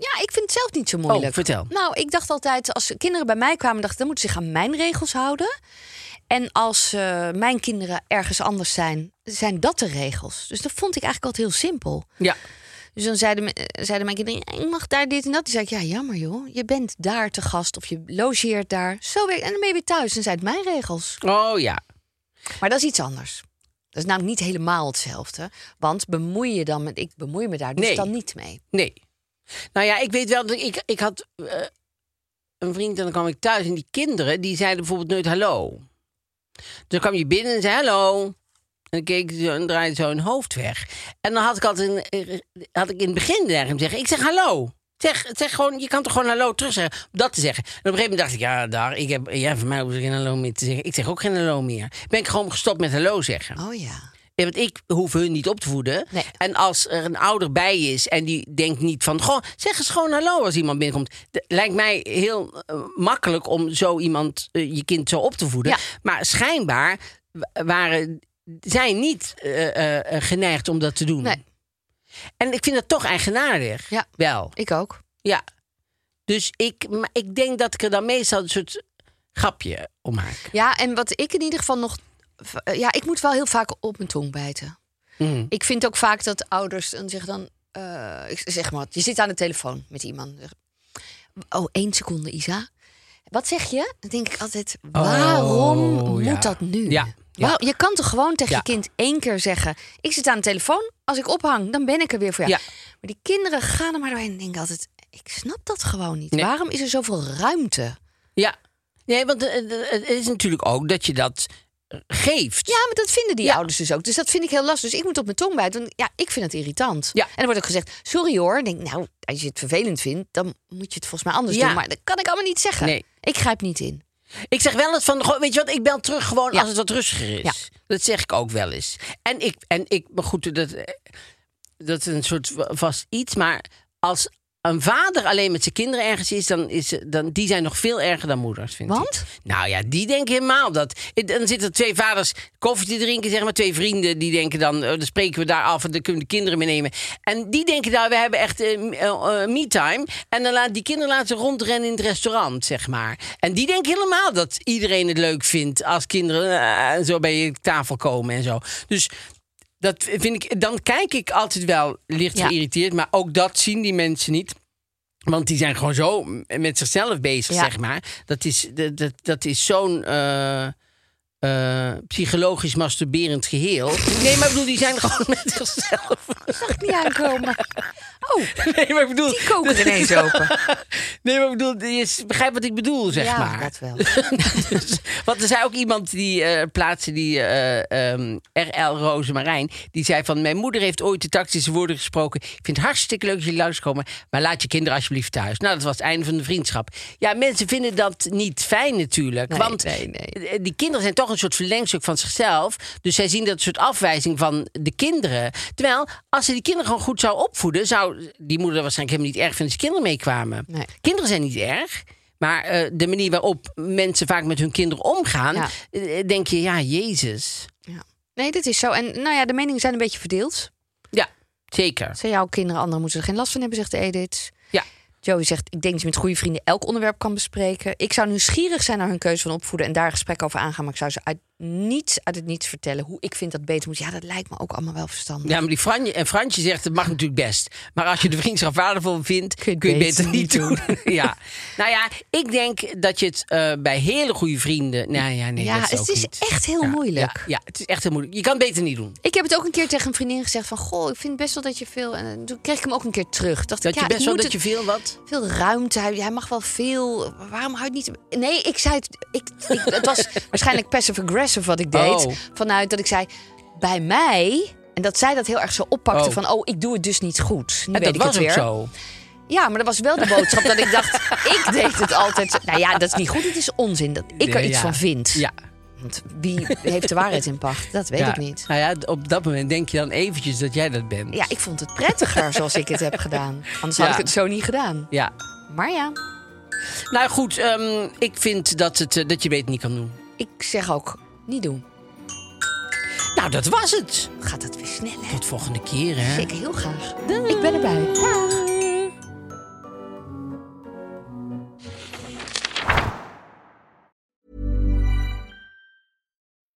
Speaker 4: Ja, ik vind het zelf niet zo moeilijk.
Speaker 5: Oh, vertel.
Speaker 4: Nou, ik dacht altijd, als kinderen bij mij kwamen, dacht ik, dan moeten ze zich aan mijn regels houden. En als eh, mijn kinderen ergens anders zijn, zijn dat de regels. Dus dat vond ik eigenlijk altijd heel simpel.
Speaker 5: Ja.
Speaker 4: Dus dan zeiden, me- eh, zeiden mijn kinderen, "Ja, ik mag daar dit en dat. Die zei ik, ja, jammer joh, je bent daar te gast of je logeert daar. Zo weer, en dan ben je weer thuis en zijn het mijn regels.
Speaker 5: Oh ja.
Speaker 4: Maar dat is iets anders. Dat is namelijk niet helemaal hetzelfde. Want bemoei je dan met, ik bemoei me daar dus
Speaker 5: Nee.
Speaker 4: dan niet mee.
Speaker 5: Nee. Nou ja, ik weet wel dat ik, ik had eh, een vriend en dan kwam ik thuis en die kinderen die zeiden bijvoorbeeld nooit hallo. Dus dan kwam je binnen en zei hallo. En dan keek ze zo en draaide zo hun hoofd weg. En dan had ik altijd een, eh, had ik in het begin tegen hem zeggen: Ik zeg hallo. Zeg, zeg gewoon, je kan toch gewoon hallo terug zeggen, om dat te zeggen. En op een gegeven moment dacht ik, ja, daar, ik heb, ja, voor mij hoef ik geen hallo meer te zeggen. Ik zeg ook geen hallo meer. Ben ik gewoon gestopt met hallo zeggen.
Speaker 4: Oh ja.
Speaker 5: Ja, want ik hoef hun niet op te voeden.
Speaker 4: Nee.
Speaker 5: En als er een ouder bij is en die denkt niet van... Goh, zeg eens gewoon hallo als iemand binnenkomt. D- lijkt mij heel eh, makkelijk om zo iemand, eh, je kind zo op te voeden.
Speaker 4: Ja.
Speaker 5: Maar schijnbaar wa- waren zij niet eh, eh, eh, geneigd om dat te doen.
Speaker 4: Nee,
Speaker 5: En ik vind dat toch eigenaardig.
Speaker 4: Ja.
Speaker 5: Wel,
Speaker 4: ik ook.
Speaker 5: ja. Dus ik, maar ik denk dat ik er dan meestal een soort grapje om maak.
Speaker 4: Ja, en wat ik in ieder geval nog. eh, Ja, ik moet wel heel vaak op mijn tong bijten.
Speaker 5: Mm.
Speaker 4: Ik vind ook vaak dat ouders dan zeggen dan. eh, ik zeg maar, wat, je zit aan de telefoon met iemand. Oh, één seconde, Isa. Wat zeg je? Dan denk ik altijd, waarom moet
Speaker 5: Oh, ja.
Speaker 4: dat nu?
Speaker 5: Ja, ja.
Speaker 4: Wauw, je kan toch gewoon tegen
Speaker 5: Ja.
Speaker 4: je kind één keer zeggen... ik zit aan de telefoon, als ik ophang, dan ben ik er weer voor jou.
Speaker 5: Ja.
Speaker 4: Maar die kinderen gaan er maar doorheen en denken altijd... ik snap dat gewoon niet.
Speaker 5: Nee.
Speaker 4: Waarom is er zoveel ruimte?
Speaker 5: Ja. Nee, want eh, eh, het is natuurlijk ook dat je dat eh, geeft.
Speaker 4: Ja, maar dat vinden die
Speaker 5: Ja.
Speaker 4: ouders dus ook. Dus dat vind ik heel lastig. Dus ik moet op mijn tong bijten. Want ja, ik vind het irritant.
Speaker 5: Ja.
Speaker 4: En dan wordt ook gezegd, sorry hoor. En ik denk, nou, als je het vervelend vindt, dan moet je het volgens mij anders
Speaker 5: Ja.
Speaker 4: doen. Maar dat kan ik allemaal niet zeggen.
Speaker 5: Nee.
Speaker 4: Ik grijp niet in.
Speaker 5: Ik zeg wel eens van, goh, weet je wat, ik bel terug gewoon
Speaker 4: Ja.
Speaker 5: als het wat rustiger is. Dat zeg ik ook wel eens. En ik, en ik maar goed, dat, eh, dat is een soort wa- vast iets. Maar als een vader alleen met zijn kinderen ergens is, dan is ze- dan, die zijn nog veel erger dan moeders, vind ik.
Speaker 4: Want?
Speaker 5: Nou ja, die denken helemaal dat. En Dan zitten twee vaders koffie te drinken, zeg maar. Twee vrienden, die denken dan, eh, dan spreken we daar af en dan kunnen we de kinderen meenemen. En die denken daar, we hebben echt eh, m- eh, eh, me-time. En dan laat die kinderen laten rondrennen in het restaurant, zeg maar. En die denken helemaal dat iedereen het leuk vindt als kinderen eh, en zo bij je tafel komen en zo. Dus dat vind ik, dan kijk ik altijd wel licht
Speaker 4: Ja.
Speaker 5: geïrriteerd. Maar ook dat zien die mensen niet. Want die zijn gewoon zo m- met zichzelf bezig,
Speaker 4: Ja.
Speaker 5: zeg maar. Dat is, dat, dat, dat is zo'n eh, eh, psychologisch masturberend geheel. Nee, maar ik bedoel, die zijn gewoon met zichzelf.
Speaker 4: Niet aankomen. Oh,
Speaker 5: Nee, maar ik bedoel...
Speaker 4: die koker ineens open.
Speaker 5: Nee, maar ik bedoel, je s- begrijpt wat ik bedoel, zeg
Speaker 4: ja,
Speaker 5: maar.
Speaker 4: dat wel.
Speaker 5: Dus- want er zei ook iemand die eh plaatste die eh, ehm, RL Rozemarijn. Die zei van mijn moeder heeft ooit de tactische woorden gesproken. Ik vind het hartstikke leuk dat jullie langskomen. Maar laat je kinderen alsjeblieft thuis. Nou, dat was het einde van de vriendschap. Ja, mensen vinden dat niet fijn natuurlijk.
Speaker 4: Nee,
Speaker 5: want
Speaker 4: nee, nee.
Speaker 5: eh, die kinderen zijn toch een soort verlengstuk van zichzelf. Dus zij zien dat soort afwijzing van de kinderen. Terwijl, als ze die kinderen gewoon goed zou opvoeden... zou die moeder waarschijnlijk helemaal niet erg vinden als de kinderen meekwamen.
Speaker 4: Nee.
Speaker 5: Kinderen zijn niet erg. Maar eh, de manier waarop mensen vaak met hun kinderen omgaan...
Speaker 4: Ja.
Speaker 5: eh, denk je, ja, jezus.
Speaker 4: Ja. Nee, dat is zo. En nou ja, de meningen zijn een beetje verdeeld.
Speaker 5: Ja, zeker.
Speaker 4: Zijn jouw kinderen, anderen moeten er geen last van hebben, zegt Edith.
Speaker 5: Ja.
Speaker 4: Joey zegt, ik denk dat je met goede vrienden elk onderwerp kan bespreken. Ik zou nieuwsgierig zijn naar hun keuze van opvoeden en daar een gesprek over aangaan. Maar ik zou ze uit niets, uit het niets vertellen hoe ik vind dat beter moet. Ja, dat lijkt me ook allemaal wel verstandig.
Speaker 5: Ja, maar die Franje, en Fransje zegt, het mag natuurlijk best. Maar als je de vriendschap waardevol vindt, kun je het beter, niet doen. ja. Nou ja, ik denk dat je het eh, bij hele goede vrienden... Nou ja, nee,
Speaker 4: Ja,
Speaker 5: dat is
Speaker 4: het
Speaker 5: ook
Speaker 4: is
Speaker 5: niet.
Speaker 4: echt heel
Speaker 5: Ja,
Speaker 4: moeilijk.
Speaker 5: Ja, ja, het is echt heel moeilijk. Je kan het beter niet doen.
Speaker 4: Ik heb het ook een keer tegen een vriendin gezegd van... goh, ik vind best wel dat je veel... En eh, toen kreeg ik hem ook een keer terug. Dacht
Speaker 5: Dat
Speaker 4: ik, ja,
Speaker 5: je best
Speaker 4: ik
Speaker 5: wel
Speaker 4: moet
Speaker 5: dat
Speaker 4: het-
Speaker 5: je veel wat...
Speaker 4: veel ruimte. Hij, hij mag wel veel. Waarom houdt niet? Nee, ik zei het. Ik, ik, het was waarschijnlijk passive aggressive wat ik deed.
Speaker 5: Oh.
Speaker 4: Vanuit dat ik zei bij mij. En dat zij dat heel erg zo oppakte
Speaker 5: Oh.
Speaker 4: van oh, ik doe het dus niet goed. Nu
Speaker 5: En
Speaker 4: weet
Speaker 5: dat
Speaker 4: ik
Speaker 5: was
Speaker 4: het
Speaker 5: ook
Speaker 4: weer.
Speaker 5: zo.
Speaker 4: Ja, maar dat was wel de boodschap dat ik dacht, ik deed het altijd. zo. Nou ja, dat is niet goed. Het is onzin dat ik er
Speaker 5: Ja,
Speaker 4: iets
Speaker 5: ja.
Speaker 4: van vind.
Speaker 5: Ja.
Speaker 4: Want wie heeft de waarheid in pacht? Dat weet
Speaker 5: ja.
Speaker 4: ik niet.
Speaker 5: Nou ja, op dat moment denk je dan eventjes dat jij dat bent.
Speaker 4: Ja, ik vond het prettiger zoals ik het heb gedaan. Anders
Speaker 5: Ja.
Speaker 4: had ik het zo niet gedaan.
Speaker 5: Ja.
Speaker 4: Maar ja.
Speaker 5: Nou goed, ehm, ik vind dat, het, eh, dat je beter niet kan doen.
Speaker 4: Ik zeg ook, niet doen.
Speaker 5: Nou, dat was het.
Speaker 4: Gaat het weer snel, hè?
Speaker 5: Tot volgende keer, hè.
Speaker 4: Zeker, heel graag. Ik ben erbij. Dag.